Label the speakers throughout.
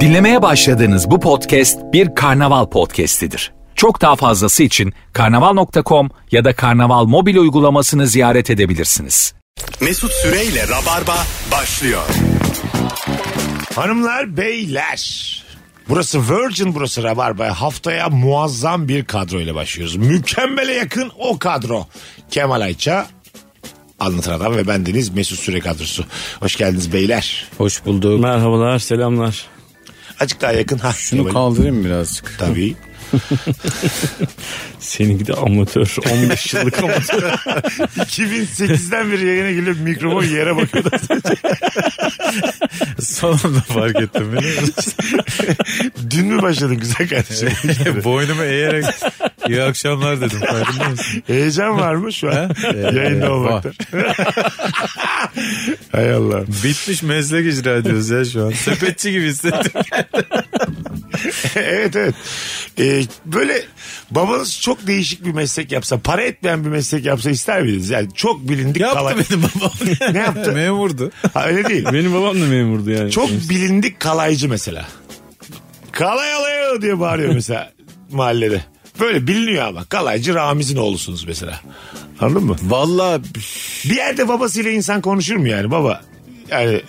Speaker 1: Dinlemeye başladığınız bu podcast bir karnaval podcastidir. Çok daha fazlası için karnaval.com ya da karnaval mobil uygulamasını ziyaret edebilirsiniz.
Speaker 2: Mesut Süreyle Rabarba başlıyor.
Speaker 3: Hanımlar beyler. Burası Virgin burası Rabarba. Haftaya muazzam bir kadro ile başlıyoruz. Mükemmele yakın o kadro. Kemal Ayça, Anlatan Adam ve bendeniz Mesut Süre kadrosu. Hoş geldiniz beyler.
Speaker 4: Hoş bulduk.
Speaker 5: Merhabalar, selamlar.
Speaker 3: Azıcık daha yakın. Ha,
Speaker 4: Şunu
Speaker 3: Kemal-
Speaker 4: kaldırayım birazcık.
Speaker 3: Tabii.
Speaker 5: Seninki de amatör. 15 yıllık amatör.
Speaker 3: 2008'den beri yayına geliyor mikrofon yere bakıyordu.
Speaker 4: Sonunda fark ettim. biliyor musun?
Speaker 3: Dün mü başladın güzel kardeşim?
Speaker 4: Boynumu eğerek iyi akşamlar dedim. Farkında mısın?
Speaker 3: Heyecan var mı şu an?
Speaker 4: Ee,
Speaker 3: Yayında olmakta.
Speaker 4: var.
Speaker 3: Hay Allah.
Speaker 4: Bitmiş meslek icra ediyoruz ya şu an. Sepetçi gibi hissettim.
Speaker 3: evet evet. Ee, böyle babanız çok değişik bir meslek yapsa, para etmeyen bir meslek yapsa ister miydiniz? Yani çok bilindik
Speaker 4: Yaptı
Speaker 3: kalan.
Speaker 4: benim babam.
Speaker 3: Ne yaptı?
Speaker 4: Memurdu.
Speaker 3: ha, öyle değil.
Speaker 5: Benim babam da memurdu yani.
Speaker 3: Çok bilindik kalaycı mesela. Kalay alayı diye bağırıyor mesela mahallede. Böyle biliniyor ama kalaycı Ramiz'in oğlusunuz mesela. Anladın mı?
Speaker 4: Valla
Speaker 3: Bir yerde babasıyla insan konuşur mu yani baba? Yani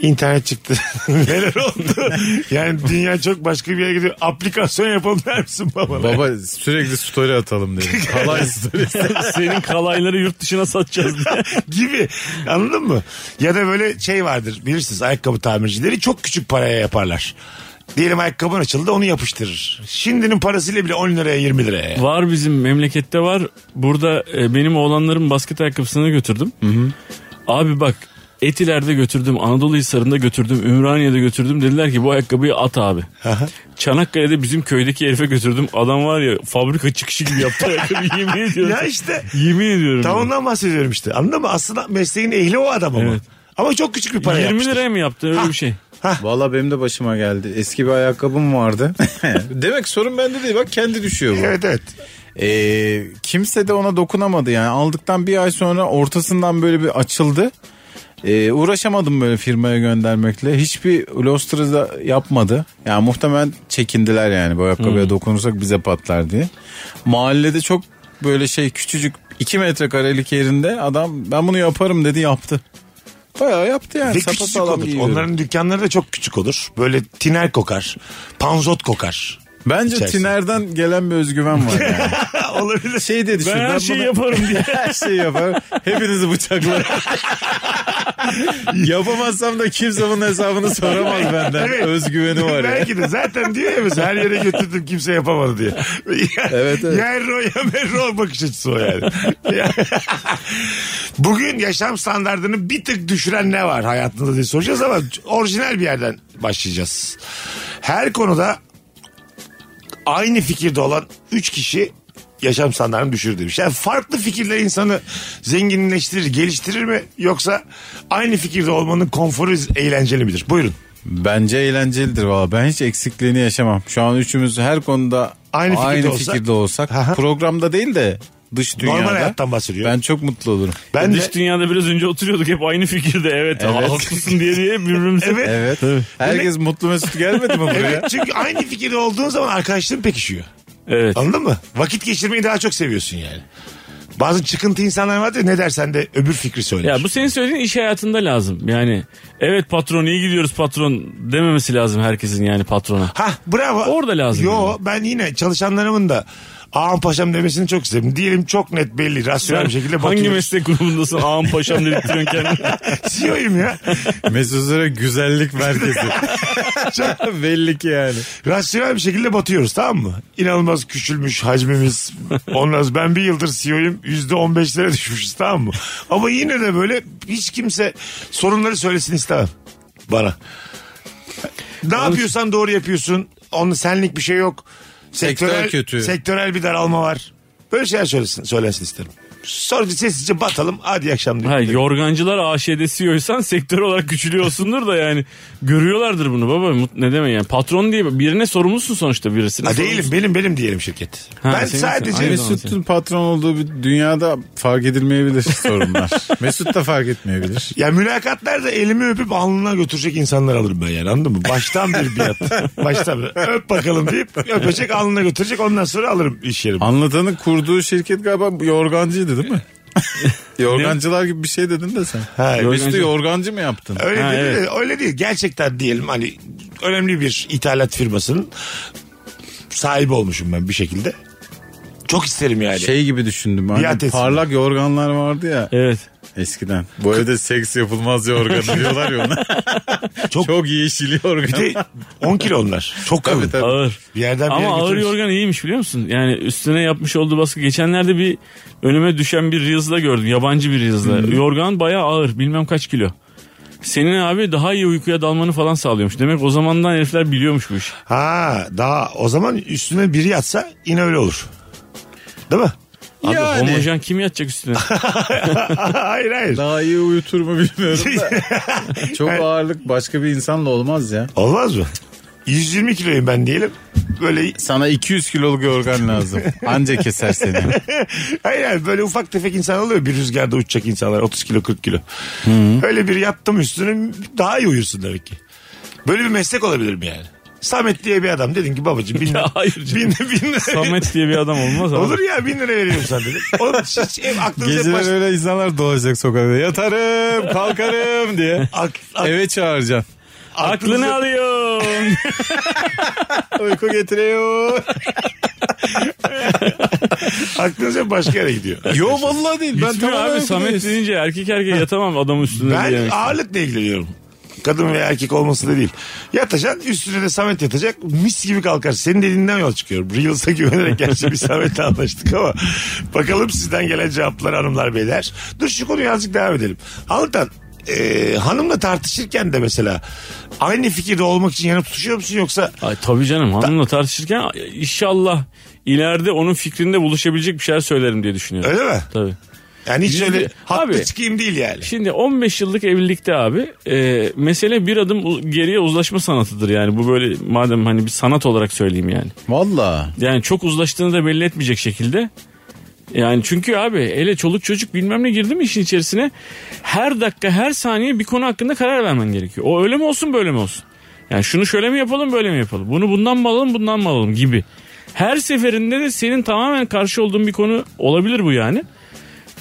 Speaker 3: internet çıktı. Neler oldu? Yani dünya çok başka bir yere gidiyor. Aplikasyon yapalım der misin babana?
Speaker 4: baba sürekli story atalım dedim. Kalay story.
Speaker 5: Senin kalayları yurt dışına satacağız diye.
Speaker 3: gibi. Anladın mı? Ya da böyle şey vardır bilirsiniz ayakkabı tamircileri çok küçük paraya yaparlar. Diyelim ayakkabın açıldı onu yapıştırır. Şimdinin parasıyla bile 10 liraya 20 liraya. yani.
Speaker 5: var bizim memlekette var. Burada e, benim oğlanların basket ayakkabısını götürdüm. Abi bak Etiler'de götürdüm, Anadolu Hisarı'nda götürdüm, Ümraniye'de götürdüm. Dediler ki bu ayakkabıyı at abi. Çanakkale'de bizim köydeki herife götürdüm. Adam var ya fabrika çıkışı gibi yaptı ayakkabıyı yemin ediyorum.
Speaker 3: ya işte
Speaker 5: Yemin ediyorum.
Speaker 3: tam
Speaker 5: ya.
Speaker 3: ondan bahsediyorum işte. Anladın mı? Aslında mesleğin ehli o adam ama.
Speaker 5: Evet.
Speaker 3: Ama çok küçük bir para
Speaker 5: 20
Speaker 3: yapmıştır.
Speaker 5: liraya mı yaptı öyle bir şey?
Speaker 4: Valla benim de başıma geldi. Eski bir ayakkabım vardı. Demek ki sorun bende değil. Bak kendi düşüyor bu.
Speaker 3: Evet evet.
Speaker 4: Ee, kimse de ona dokunamadı yani aldıktan bir ay sonra ortasından böyle bir açıldı. Ee, uğraşamadım böyle firmaya göndermekle. Hiçbir Lostra da yapmadı. Yani muhtemelen çekindiler yani bu ayakkabıya
Speaker 3: Hmm.
Speaker 4: dokunursak bize patlar diye. Mahallede çok böyle şey küçücük 2 metrekarelik yerinde adam ben bunu yaparım dedi yaptı. Bayağı yaptı yani.
Speaker 3: Ve
Speaker 4: sapasağlam
Speaker 3: küçük olur.
Speaker 4: giyiyorum.
Speaker 3: Onların dükkanları da çok küçük olur. Böyle tiner kokar. Panzot kokar.
Speaker 4: Bence
Speaker 3: İçerisinde.
Speaker 4: Tiner'den gelen bir özgüven var yani.
Speaker 3: Olabilir.
Speaker 4: şey dedi
Speaker 5: Ben her şeyi yaparım diye.
Speaker 4: her şeyi yaparım. Hepinizi bıçaklarım. Yapamazsam da kimse bunun hesabını soramaz benden.
Speaker 3: Evet.
Speaker 4: Özgüveni var ya.
Speaker 3: Belki de zaten diyor ya mesela her yere götürdüm kimse yapamadı diye. Ya-
Speaker 4: Evet, evet.
Speaker 3: Ya Erro ya Merro bakış açısı o yani. Ya- Bugün yaşam standartını bir tık düşüren ne var hayatında diye soracağız ama orijinal bir yerden başlayacağız. Her konuda aynı fikirde olan 3 kişi yaşam standartını düşür demiş. Yani farklı fikirler insanı zenginleştirir, geliştirir mi? Yoksa aynı fikirde olmanın konforu eğlenceli midir? Buyurun.
Speaker 4: Bence eğlencelidir valla. Ben hiç eksikliğini yaşamam. Şu an üçümüz her konuda
Speaker 3: Aynı
Speaker 4: aynı
Speaker 3: fikirde
Speaker 4: fikirde,
Speaker 3: olsak-
Speaker 4: olsak.
Speaker 3: Aha.
Speaker 4: Programda değil de dış dünyada.
Speaker 3: Normal hayattan bahsediyor.
Speaker 4: Ben çok mutlu olurum.
Speaker 3: Ben de
Speaker 5: Dış dünyada biraz önce oturuyorduk hep aynı fikirde evet,
Speaker 4: Evet.
Speaker 5: haklısın diye diye birbirimize.
Speaker 3: Evet.
Speaker 4: Evet. Herkes mutlu mesut gelmedi mi buraya?
Speaker 3: Evet çünkü aynı fikirde olduğun zaman arkadaşlığın pekişiyor.
Speaker 5: Evet.
Speaker 3: Anladın mı? Vakit geçirmeyi daha çok seviyorsun yani. Bazı çıkıntı insanlar vardır ya, ne dersen de öbür fikri söyler.
Speaker 5: Ya bu senin söylediğin iş hayatında lazım. Yani evet patron iyi gidiyoruz patron dememesi lazım herkesin yani patrona.
Speaker 3: Ha bravo.
Speaker 5: Orada lazım
Speaker 3: Yo ben yine çalışanlarımın da ağam paşam demesini çok isterim. Diyelim çok net belli rasyonel bir şekilde
Speaker 5: Hangi
Speaker 3: bakıyorum.
Speaker 5: meslek grubundasın ağam paşam dedirtiyorsun kendini.
Speaker 3: CEO'yum E ya.
Speaker 4: Mesut Süre güzellik merkezi. Belli ki yani.
Speaker 3: Rasyonel bir şekilde batıyoruz tamam mı? İnanılmaz küçülmüş hacmimiz. Ondan sonra ben bir yıldır CEO'yum. Yüzde on beşlere düşmüşüz tamam mı? Ama yine de böyle hiç kimse sorunları söylesin istemem. Bana. Ne yapıyorsan doğru yapıyorsun. Onun senlik bir şey yok.
Speaker 4: Sektör
Speaker 3: Sektörel,
Speaker 4: kötü.
Speaker 3: Sektörel bir daralma var. Böyle şeyler söylesin, söylensin isterim. Sonra bir sessizce batalım. Hadi iyi akşamlar.
Speaker 5: Ha, yorgancılar AŞ'de CEO'ysan sektör olarak küçülüyorsundur da yani görüyorlardır bunu baba Mut- ne demek yani patron diye birine sorumlusun sonuçta birisine.
Speaker 3: Ha, değilim
Speaker 5: sorumlusun.
Speaker 3: benim benim diyelim şirket.
Speaker 5: Ha,
Speaker 3: ben
Speaker 5: senin-
Speaker 3: sadece
Speaker 5: Aynen.
Speaker 4: Mesut'un patron olduğu bir dünyada fark edilmeyebilir sorunlar. Mesut da fark etmeyebilir.
Speaker 3: Ya mülakatlarda elimi öpüp alnına götürecek insanlar alırım ben yani anladın mı? Baştan bir biat. Baştan bir öp bakalım deyip öpecek alnına götürecek ondan sonra alırım iş yerimi.
Speaker 4: Anlatanın kurduğu şirket galiba yorgancıydı değil mi? Yorgancılar gibi bir şey dedin de sen.
Speaker 3: Ha,
Speaker 4: Mesut'u
Speaker 5: yorgancı.
Speaker 4: yorgancı mı yaptın?
Speaker 3: Öyle
Speaker 5: Ha,
Speaker 3: değil, de-
Speaker 5: evet.
Speaker 3: öyle değil. Gerçekten diyelim hani önemli bir ithalat firmasının sahibi olmuşum ben bir şekilde. Çok isterim yani.
Speaker 4: Şey gibi düşündüm. Hani
Speaker 3: Biat etsin.
Speaker 4: parlak yorganlar vardı ya
Speaker 5: Evet.
Speaker 4: eskiden. Bu evde seks yapılmaz yorganı diyorlar ya ona.
Speaker 3: Çok-
Speaker 4: Çok, yeşil yorgan.
Speaker 3: Bir de 10 kilo onlar. Çok kalın.
Speaker 4: Tabii, tabii.
Speaker 5: Ağır.
Speaker 3: Bir yerden bir
Speaker 5: Ama
Speaker 3: yere
Speaker 5: ağır
Speaker 3: götürürüz.
Speaker 5: yorgan iyiymiş biliyor musun? Yani üstüne yapmış olduğu baskı geçenlerde bir önüme düşen bir Reels'da gördüm. Yabancı bir Reels'da. Yorgan bayağı ağır. Bilmem kaç kilo. Senin abi daha iyi uykuya dalmanı falan sağlıyormuş. Demek o zamandan herifler biliyormuş bu işi.
Speaker 3: Ha daha o zaman üstüne biri yatsa yine öyle olur. Değil mi?
Speaker 5: Abi
Speaker 4: Yani.
Speaker 5: homojen kim yatacak üstüne?
Speaker 3: hayır hayır.
Speaker 4: Daha iyi uyutur mu bilmiyorum da. Çok ağırlık başka bir insanla olmaz ya.
Speaker 3: Olmaz mı? 120 kiloyum ben diyelim. Böyle
Speaker 4: Sana 200 kiloluk yorgan lazım. Anca keser seni.
Speaker 3: hayır hayır, böyle ufak tefek insan oluyor bir rüzgarda uçacak insanlar 30 kilo 40 kilo. Öyle bir yattım üstüne daha iyi uyursun demek ki. Böyle bir meslek olabilir mi yani? Samet diye bir adam dedin ki babacığım bin,
Speaker 5: Ya hayır canım.
Speaker 3: bin, bin lira.
Speaker 5: Samet diye bir adam olmaz abi.
Speaker 3: Olur ya bin lira veriyorum sana dedim. Oğlum hiç hep aklınız hep
Speaker 4: Geceler
Speaker 3: baş...
Speaker 4: öyle insanlar dolaşacak sokakta. Yatarım, kalkarım diye.
Speaker 3: Ak- ak-
Speaker 4: Eve çağıracaksın.
Speaker 3: aklınız hep-
Speaker 5: Aklını alıyorsun.
Speaker 4: Uyku getiriyor.
Speaker 3: aklınız hep başka yere gidiyor.
Speaker 4: Yo vallahi değil. Ben
Speaker 5: Gitmiyor
Speaker 4: tamamen
Speaker 5: abi Samet
Speaker 4: uykudayız.
Speaker 5: deyince erkek erkeğe yatamam adamın üstüne
Speaker 3: Ben
Speaker 5: diye.
Speaker 3: ağırlıkla ilgileniyorum. Kadın veya erkek olması da değil. Yatacaksın üstüne de Samet yatacak. Mis gibi kalkar. Senin dediğinden yola çıkıyorum. Reels'a güvenerek gerçi bir Samet'le anlaştık ama. Bakalım sizden gelen cevaplar hanımlar beyler. Dur şu konuyu azıcık devam edelim. Anlatan e, hanımla tartışırken de mesela aynı fikirde olmak için yanıp tutuşuyor musun yoksa
Speaker 5: Ay, tabii canım hanımla tartışırken inşallah ileride onun fikrinde buluşabilecek bir şeyler söylerim diye düşünüyorum.
Speaker 3: öyle mi?
Speaker 5: Tabii.
Speaker 3: Yani hiç
Speaker 5: Yüzde-
Speaker 3: öyle haklı
Speaker 5: Abi.
Speaker 3: çıkayım değil yani.
Speaker 5: Şimdi 15 yıllık evlilikte abi e, mesele bir adım u- geriye uzlaşma sanatıdır yani bu böyle madem hani bir sanat olarak söyleyeyim yani.
Speaker 4: Valla.
Speaker 5: Yani çok uzlaştığını da belli etmeyecek şekilde. Yani çünkü abi hele çoluk çocuk bilmem ne girdi mi işin içerisine her dakika her saniye bir konu hakkında karar vermen gerekiyor. O öyle mi olsun böyle mi olsun? Yani şunu şöyle mi yapalım böyle mi yapalım? Bunu bundan mı alalım bundan mı alalım gibi. Her seferinde de senin tamamen karşı olduğun bir konu olabilir bu yani.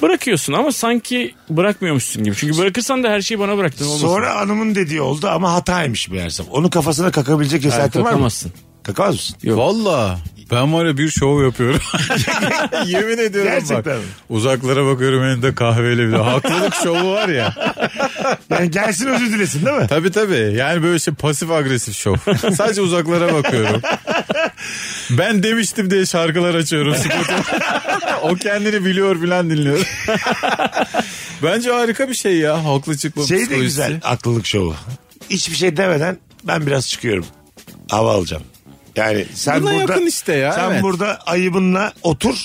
Speaker 5: Bırakıyorsun ama sanki bırakmıyormuşsun gibi. Çünkü bırakırsan da her şeyi bana bıraktın olmasın.
Speaker 3: Sonra hanımın dediği oldu ama hataymış meğersem. Onun kafasına kakabilecek cesaretin var mı?
Speaker 5: Kalkamazsın.
Speaker 3: Kakamaz mısın?
Speaker 4: Valla. Ben var ya bir şov yapıyorum. Yemin ediyorum
Speaker 3: Gerçekten
Speaker 4: bak.
Speaker 3: mi?
Speaker 4: Uzaklara bakıyorum elinde kahveyle bile. Haklılık şovu var ya.
Speaker 3: Yani gelsin özür dilesin değil mi?
Speaker 4: Tabii tabii. Yani böyle şey pasif agresif şov. Sadece uzaklara bakıyorum. Ben demiştim diye şarkılar açıyorum. Spotify. o kendini biliyor bilen dinliyor. Bence harika bir şey ya. Haklı çıkma
Speaker 3: Şey de
Speaker 4: psikolojisi.
Speaker 3: güzel aklılık şovu. Hiçbir şey demeden ben biraz çıkıyorum. Hava alacağım. Yani sen
Speaker 4: Buna
Speaker 3: burada
Speaker 4: yakın işte ya,
Speaker 3: Sen
Speaker 4: evet.
Speaker 3: burada ayıbınla otur.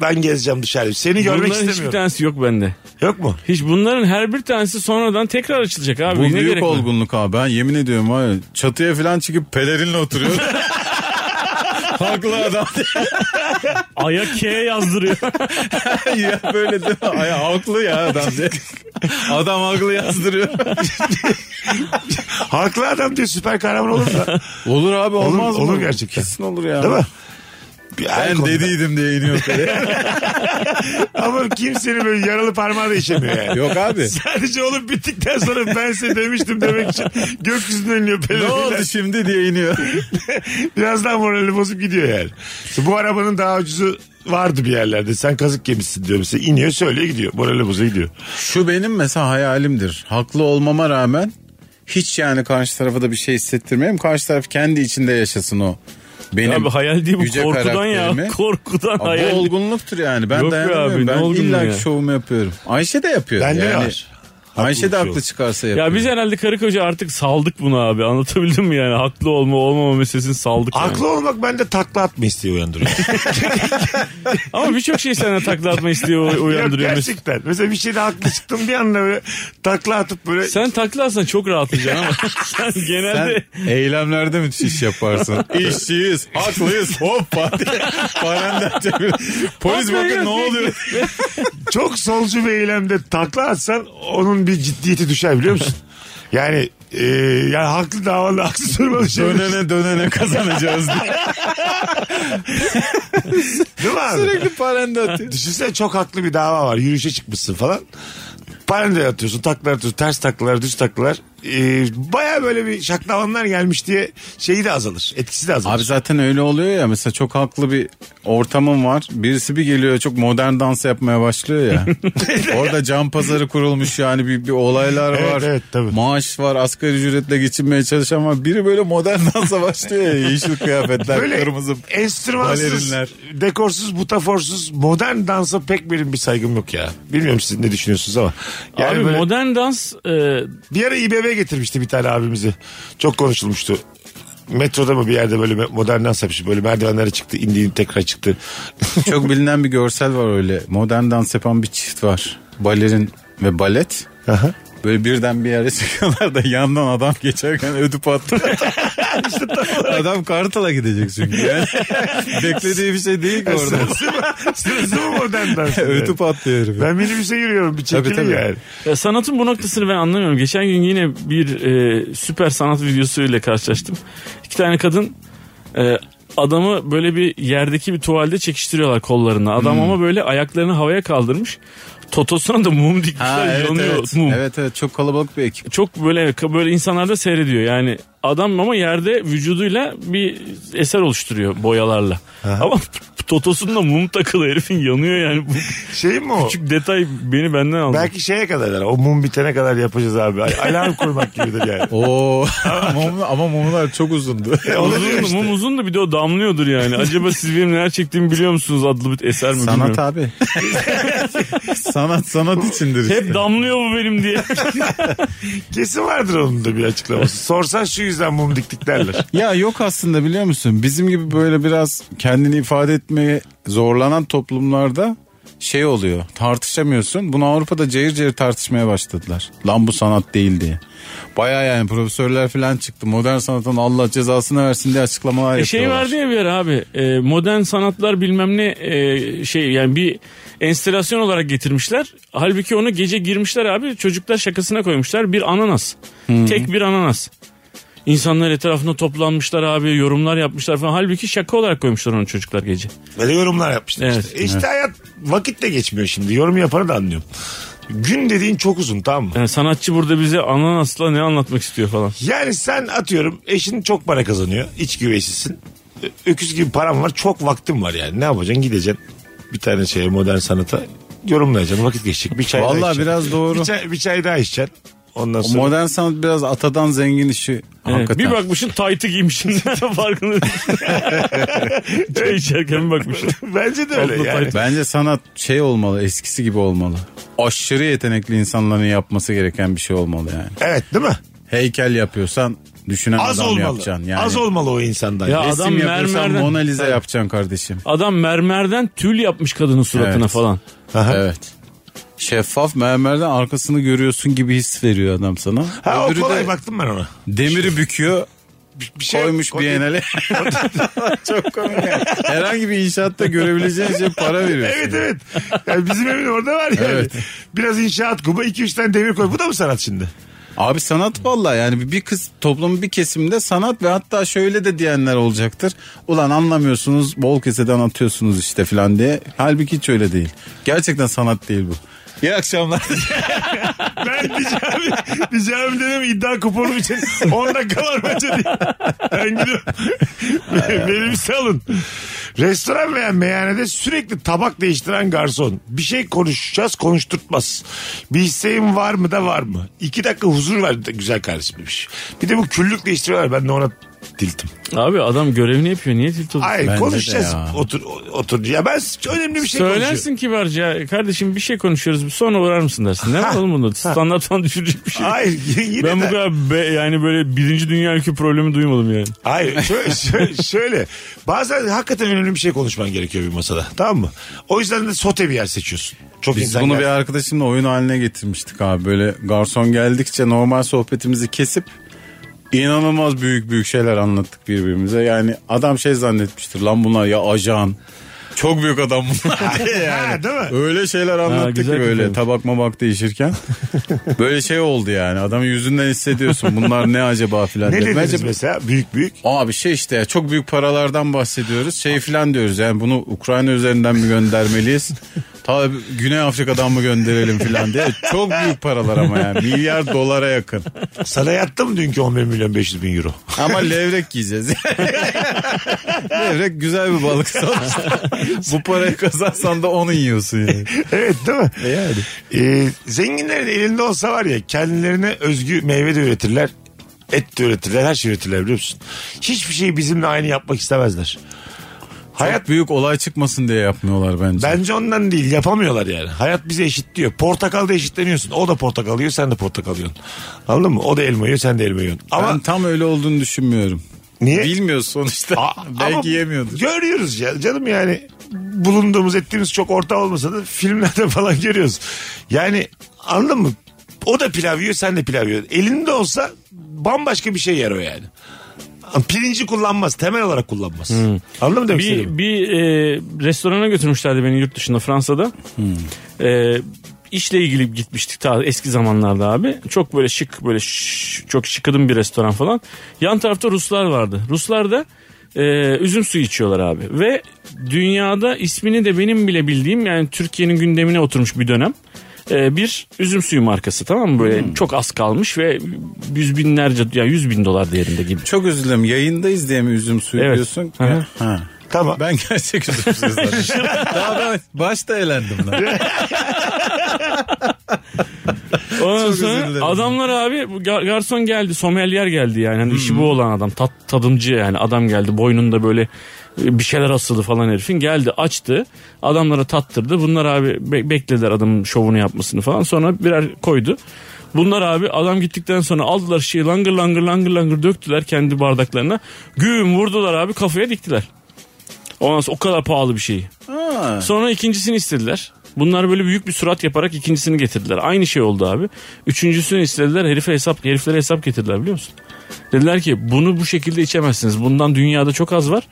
Speaker 3: Ben gezeceğim dışarı. Seni görmek
Speaker 5: Bunların hiçbir
Speaker 3: istemiyorum.
Speaker 5: tanesi yok bende.
Speaker 3: Yok mu?
Speaker 5: Hiç bunların her bir tanesi sonradan tekrar açılacak abi.
Speaker 4: Bu
Speaker 5: ne
Speaker 4: büyük
Speaker 5: gerek var?
Speaker 4: olgunluk abi. Ben yemin ediyorum var ya, çatıya falan çıkıp pelerinle oturuyor. Haklı adam.
Speaker 5: Aya K yazdırıyor.
Speaker 4: ya böyle değil mi? Ay, haklı ya adam diye. Adam haklı yazdırıyor.
Speaker 3: Haklı adam diye süper kahraman olur mu?
Speaker 4: olur abi olmaz
Speaker 3: olur
Speaker 4: mı?
Speaker 3: gerçekten.
Speaker 4: Kesin olur ya.
Speaker 3: Değil mi? Bir her
Speaker 4: Ben
Speaker 3: konuda.
Speaker 4: dediydim diye iniyor pele.
Speaker 3: Ama kimsenin böyle yaralı parmağı da işemiyor yani.
Speaker 4: Yok abi.
Speaker 3: Sadece olup bittikten sonra ben size demiştim demek için gökyüzünden iniyor
Speaker 4: ne
Speaker 3: peleriyle.
Speaker 4: oldu şimdi diye iniyor.
Speaker 3: Birazdan morali bozup gidiyor yani. İşte bu arabanın daha ucuzu vardı bir yerlerde. Sen kazık yemişsin diyor mesela. İniyor söylüyor gidiyor. Morali bozuyor gidiyor.
Speaker 4: Şu benim mesela hayalimdir. Haklı olmama rağmen hiç yani karşı tarafa da bir şey hissettirmeyeyim. Karşı taraf kendi içinde yaşasın o. Benim
Speaker 5: abi hayal değil bu
Speaker 4: yüce
Speaker 5: korkudan ya.
Speaker 4: karakterimi.
Speaker 5: Korkudan
Speaker 4: Abi
Speaker 5: hayal.
Speaker 4: Bu olgunluktur yani. Ben
Speaker 5: Yok be
Speaker 4: dayanamıyorum.
Speaker 5: abi, ne
Speaker 4: ben
Speaker 5: olgunluğu
Speaker 4: illa
Speaker 5: ya?
Speaker 4: ki şovumu yapıyorum. Ayşe de yapıyor.
Speaker 3: Bende
Speaker 4: yani
Speaker 3: var.
Speaker 4: Ayşe de
Speaker 3: bir şey
Speaker 4: haklı
Speaker 3: olur.
Speaker 4: çıkarsa yapıyor.
Speaker 5: Ya biz herhalde karı koca artık saldık bunu abi. Anlatabildim mi yani? Haklı olma olmama meselesini saldık. yani.
Speaker 3: Aklı olmak bende takla atma isteği uyandırıyor.
Speaker 5: Ama birçok şey sana takla atma isteği u-
Speaker 3: Yok,
Speaker 5: uyandırıyor. Mesut.
Speaker 3: gerçekten. Mesela bir şeyde haklı çıktım bir anda böyle takla atıp böyle
Speaker 5: Sen takla atsan çok rahatlayacaksın ama sen genelde
Speaker 4: Sen eylemlerde müthiş iş yaparsın. İşçiyiz, haklıyız, hoppa diye. Parenden çevir. Polis bakın ne oluyor?
Speaker 3: çok solcu bir eylemde takla atsan onun bir ciddiyeti düşer biliyor musun? Yani e, yani haklı davanda haksız durmalı şey.
Speaker 4: Dönene dönene kazanacağız diye.
Speaker 3: Değil mi abi?
Speaker 4: Sürekli parende atıyor.
Speaker 3: Düşünsene çok haklı bir dava var. Yürüyüşe çıkmışsın falan. Parende atıyorsun, taklalar atıyorsun, ters taklalar, düz taklalar. Ee, Baya böyle bir şaklavanlar gelmiş diye şeyi de azalır. Etkisi de azalır.
Speaker 4: Abi zaten öyle oluyor ya mesela çok haklı bir ortamım var. Birisi bir geliyor çok modern dans yapmaya başlıyor ya. Orada can pazarı kurulmuş yani bir, bir olaylar
Speaker 3: Evet,
Speaker 4: var.
Speaker 3: evet, tabii.
Speaker 4: Maaş var asgari ücretle geçinmeye çalışan var. Biri böyle modern dansa başlıyor ya yeşil kıyafetler
Speaker 3: Böyle
Speaker 4: kırmızı.
Speaker 3: enstrümansız,
Speaker 4: balerinler.
Speaker 3: dekorsuz, butaforsuz, modern dansa pek benim bir saygım yok ya. Bilmiyorum siz ne düşünüyorsunuz ama. Yani
Speaker 5: abi
Speaker 3: böyle-
Speaker 5: modern dans e,
Speaker 3: Bir ara İBB getirmişti bir tane abimizi. Çok konuşulmuştu. Metroda mı bir yerde böyle modern dans yapmış. Böyle merdivenlere çıktı, indi, indi, tekrar çıktı.
Speaker 4: Çok bilinen bir görsel var öyle. Modern dans yapan bir çift var. Balerin ve balet.
Speaker 3: Aha.
Speaker 4: Böyle birden bir yere çıkıyorlar da yandan adam geçerken ödü patlıyor. adam Kartal'a gidecek çünkü yani. Beklediği bir şey değil ki orada.
Speaker 3: Sırası mı? Sırası mı modern dans?
Speaker 4: ödü patlıyor herif.
Speaker 3: Ben minibüse yürüyorum bir çekilin
Speaker 4: Tabii, tabii.
Speaker 3: yani.
Speaker 5: Ya sanatın bu noktasını ben anlamıyorum. Geçen gün yine bir e, süper sanat videosuyla karşılaştım. İki tane kadın e, adamı böyle bir yerdeki bir tuvalde çekiştiriyorlar kollarını. Adam
Speaker 4: Hmm.
Speaker 5: ama böyle ayaklarını havaya kaldırmış. Totosuna da mum dikmişler
Speaker 4: Ha, evet,
Speaker 5: şey yanıyor
Speaker 4: evet.
Speaker 5: mum.
Speaker 4: evet evet çok kalabalık bir ekip.
Speaker 5: Çok böyle böyle insanlar da seyrediyor. Yani adam ama yerde vücuduyla bir eser oluşturuyor boyalarla. Ama totosunda mum takılı herifin yanıyor yani. Bu
Speaker 3: Şey mi o?
Speaker 5: küçük detay beni benden aldı.
Speaker 3: Belki şeye kadar yani, o mum bitene kadar yapacağız abi. Ay- Alarm kurmak gibidir yani.
Speaker 4: Oo. Mum- ama mumlar çok uzundu.
Speaker 5: E, Uzundu, mum uzundu bir de o damlıyordur yani. Acaba siz benim neler çektiğimi biliyor musunuz adlı bir eser mi
Speaker 4: sanat
Speaker 5: bilmiyorum.
Speaker 4: abi. sanat sanat içindir. işte.
Speaker 5: Hep damlıyor bu benim diye.
Speaker 3: Kesin vardır onun da bir açıklaması. Sorsan şu yüzden mum diktik derler.
Speaker 4: Ya yok aslında biliyor musun? Bizim gibi böyle biraz kendini ifade etmeye zorlanan toplumlarda şey oluyor. Tartışamıyorsun. Bunu Avrupa'da cayır cayır tartışmaya başladılar. Lan bu sanat değil diye. Baya yani profesörler falan çıktı. Modern sanatın Allah cezasını versin diye açıklamalar
Speaker 5: E
Speaker 4: yapıyorlar.
Speaker 5: şey vardı ya bir ara abi e, modern sanatlar bilmem ne e, şey yani bir enstelasyon olarak getirmişler. Halbuki onu gece girmişler abi çocuklar şakasına koymuşlar bir ananas. Tek bir ananas. İnsanlar etrafında toplanmışlar abi yorumlar yapmışlar falan. Halbuki şaka olarak koymuşlar onu çocuklar gece.
Speaker 3: Böyle yorumlar yapmışlar
Speaker 5: Evet.
Speaker 3: işte. E İşte hayat vakit de geçmiyor şimdi. Yorum yapanı da anlıyorum. Gün dediğin çok uzun tamam mı?
Speaker 5: Yani sanatçı burada bize ananasla ne anlatmak istiyor falan.
Speaker 3: Yani sen atıyorum eşin çok para kazanıyor. İç güveysisin. Ö- Öküz gibi param var. Çok vaktim var yani. Ne yapacaksın? Gideceksin bir tane şeye modern sanata yorumlayacaksın. Vakit geçecek. Bir çay daha
Speaker 4: Vallahi
Speaker 3: içeceksin.
Speaker 4: biraz doğru.
Speaker 3: Bir çay, bir çay daha içeceksin. Ondan sonra.
Speaker 4: Modern sanat biraz atadan zengin işi.
Speaker 5: Evet,
Speaker 4: Hakikaten.
Speaker 5: bir bakmışsın taytı giymişsin zaten farkında değilsin. Çay içerken bir bakmışsın.
Speaker 3: Bence de öyle
Speaker 5: Abla
Speaker 3: yani.
Speaker 4: Bence sanat şey olmalı eskisi gibi olmalı. Aşırı yetenekli insanların yapması gereken bir şey olmalı yani.
Speaker 3: Evet değil mi?
Speaker 4: heykel yapıyorsan düşünen
Speaker 3: Az
Speaker 4: adam
Speaker 3: olmalı.
Speaker 4: yapacaksın. Yani
Speaker 3: Az olmalı o insandan.
Speaker 5: Ya
Speaker 4: resim
Speaker 5: adam
Speaker 4: yapıyorsan
Speaker 5: mermerden-
Speaker 4: Mona Lisa
Speaker 5: Evet.
Speaker 4: yapacaksın kardeşim.
Speaker 5: Adam mermerden tül yapmış kadının suratına
Speaker 4: Evet.
Speaker 5: falan.
Speaker 3: Aha.
Speaker 4: Evet. Şeffaf mermerden arkasını görüyorsun gibi his veriyor adam sana.
Speaker 3: Ha, o
Speaker 4: Öbürü
Speaker 3: kolay
Speaker 4: de
Speaker 3: baktım ben ona.
Speaker 4: demiri büküyor.
Speaker 3: Bir şey
Speaker 4: koymuş
Speaker 3: o-
Speaker 4: Biennale. Çok komik. yani. Herhangi bir inşaatta görebileceğin şey para veriyorsun.
Speaker 3: Evet evet. Yani bizim evin orada var yani.
Speaker 4: Evet.
Speaker 3: Biraz inşaat kubu, iki üç tane demir koy. Bu da mı sanat şimdi?
Speaker 4: Abi sanat valla yani bir kız toplumun bir kesimde sanat ve hatta şöyle de diyenler olacaktır. Ulan anlamıyorsunuz bol keseden atıyorsunuz işte filan diye. Halbuki hiç öyle değil. Gerçekten sanat değil bu. İyi akşamlar.
Speaker 3: Ben diyeceğim, diyeceğim dedim iddia kuponum için 10 dakika var maça diye. Ben gidiyorum. Beni bir salın. Restoran veya meyhanede sürekli tabak değiştiren garson. Bir şey konuşacağız konuşturtmaz. Bir isteğin var mı da var mı? İki dakika huzur ver de- güzel kardeşim demiş. Bir de bu küllük değiştiriyorlar. Ben de ona tiltim.
Speaker 5: Abi adam görevini yapıyor. Niye tilt olursun?
Speaker 3: Ay
Speaker 4: Bence de
Speaker 3: konuşacağız.
Speaker 4: ya.
Speaker 3: Otur, otur. Ya ben önemli bir şey konuşuyorum.
Speaker 5: Söylersin kibarca kardeşim bir şey konuşuyoruz sonra uğrar mısın dersin. Ne var oğlum bunda? Standart falan düşürecek bir şey.
Speaker 3: Hayır yine
Speaker 5: ben bu
Speaker 3: de-
Speaker 5: kadar be- yani böyle birinci dünya ülke problemi duymadım yani.
Speaker 3: Hayır şöyle, şöyle, şöyle. Bazen hakikaten önemli bir şey konuşman gerekiyor bir masada. Tamam mı? O yüzden de sote bir yer seçiyorsun. Çok
Speaker 4: Biz
Speaker 3: insan
Speaker 4: bunu bir
Speaker 3: yer-
Speaker 4: arkadaşımla oyun haline getirmiştik abi. Böyle garson geldikçe normal sohbetimizi kesip inanılmaz büyük büyük şeyler anlattık birbirimize. Yani adam şey zannetmiştir lan bunlar ya ajan. Çok büyük adam bunlar.
Speaker 3: Ha, değil mi?
Speaker 4: Öyle şeyler anlattık ki
Speaker 5: güzel
Speaker 4: böyle
Speaker 5: kafaymış.
Speaker 4: tabak mabak değişirken. böyle şey oldu yani adamın yüzünden hissediyorsun bunlar ne acaba
Speaker 3: Ne
Speaker 4: filan. diye.
Speaker 3: dediniz
Speaker 4: Bence-
Speaker 3: mesela? Büyük büyük.
Speaker 4: Abi şey işte ya, çok büyük paralardan bahsediyoruz. Şey filan diyoruz yani bunu Ukrayna üzerinden mi göndermeliyiz? Ta Güney Afrika'dan mı gönderelim filan diye. Çok büyük paralar ama yani. Milyar dolara yakın.
Speaker 3: Sana yattım dünkü 11 milyon 500 bin euro.
Speaker 4: Ama levrek yiyeceğiz. levrek güzel bir balık sonuçta. Bu parayı kazansan da onu yiyorsun yani.
Speaker 3: evet değil mi?
Speaker 4: E
Speaker 3: Ee, zenginlerin elinde olsa var ya kendilerine özgü meyve de üretirler. Et de üretirler. Her şey üretirler biliyor musun? Hiçbir şeyi bizimle aynı yapmak istemezler. Hayat
Speaker 4: Hayat büyük olay çıkmasın diye yapmıyorlar bence.
Speaker 3: Bence ondan değil yapamıyorlar yani. Hayat bizi eşitliyor. Portakal da eşitleniyorsun. O da portakal yiyor sen de portakal yiyorsun. Anladın mı? O da elma yiyor sen de elma yiyorsun. Ama
Speaker 4: Ben tam öyle olduğunu düşünmüyorum.
Speaker 3: niye?
Speaker 4: Bilmiyoruz sonuçta.
Speaker 3: A-
Speaker 4: Belki
Speaker 3: ama
Speaker 4: yemiyordur.
Speaker 3: Görüyoruz ya canım yani bulunduğumuz ettiğimiz çok orta olmasa da filmlerde falan görüyoruz. Yani anladın mı? O da pilav yiyor sen de pilav yiyorsun. Elinde olsa bambaşka bir şey yer o yani. Pirinci kullanmaz temel olarak kullanmaz.
Speaker 4: Hmm.
Speaker 3: Anladın mı demek istediğimi?
Speaker 5: Bir, bir e, restorana götürmüşlerdi beni yurt dışında Fransa'da. E, işle ilgili gitmiştik ta eski zamanlarda abi. Çok böyle şık böyle şş- çok şıkıdım bir restoran falan. Yan tarafta Ruslar vardı. Ruslar da e, üzüm suyu içiyorlar abi. Ve dünyada ismini de benim bile bildiğim yani Türkiye'nin gündemine oturmuş bir dönem. E, bir üzüm suyu markası tamam mı böyle çok az kalmış ve yüz binlerce ya yüz bin dolar değerinde gibi.
Speaker 4: Çok özür dilerim. Yayındayız diye mi üzüm suyu
Speaker 5: Evet.
Speaker 4: diyorsun?
Speaker 5: Hı hı.
Speaker 4: Ha.
Speaker 3: Tamam.
Speaker 4: Ben gerçek üzüm suyu zannettim. Daha ben başta eğlendim lan.
Speaker 5: Ondan
Speaker 4: Çok
Speaker 5: sonra
Speaker 4: özür dilerim.
Speaker 5: adamlar abi bu gar- garson geldi sommelier geldi yani Hani
Speaker 4: Hmm.
Speaker 5: işi bu olan adam tat, tadımcı yani adam geldi boynunda böyle e, bir şeyler asılı falan herifin geldi açtı adamlara tattırdı bunlar abi be- beklediler adamın şovunu yapmasını falan sonra birer koydu. Bunlar abi adam gittikten sonra aldılar şeyi langır langır langır langır döktüler kendi bardaklarına. Güm vurdular abi kafaya diktiler. Ondan sonra o kadar pahalı bir şey. şeyi.
Speaker 4: Ha.
Speaker 5: Sonra ikincisini istediler. Bunlar böyle büyük bir surat yaparak ikincisini getirdiler. Aynı şey oldu abi. Üçüncüsünü istediler. Herife hesap, heriflere hesap getirdiler biliyor musun? Dediler ki bunu bu şekilde içemezsiniz. Bundan dünyada çok az var.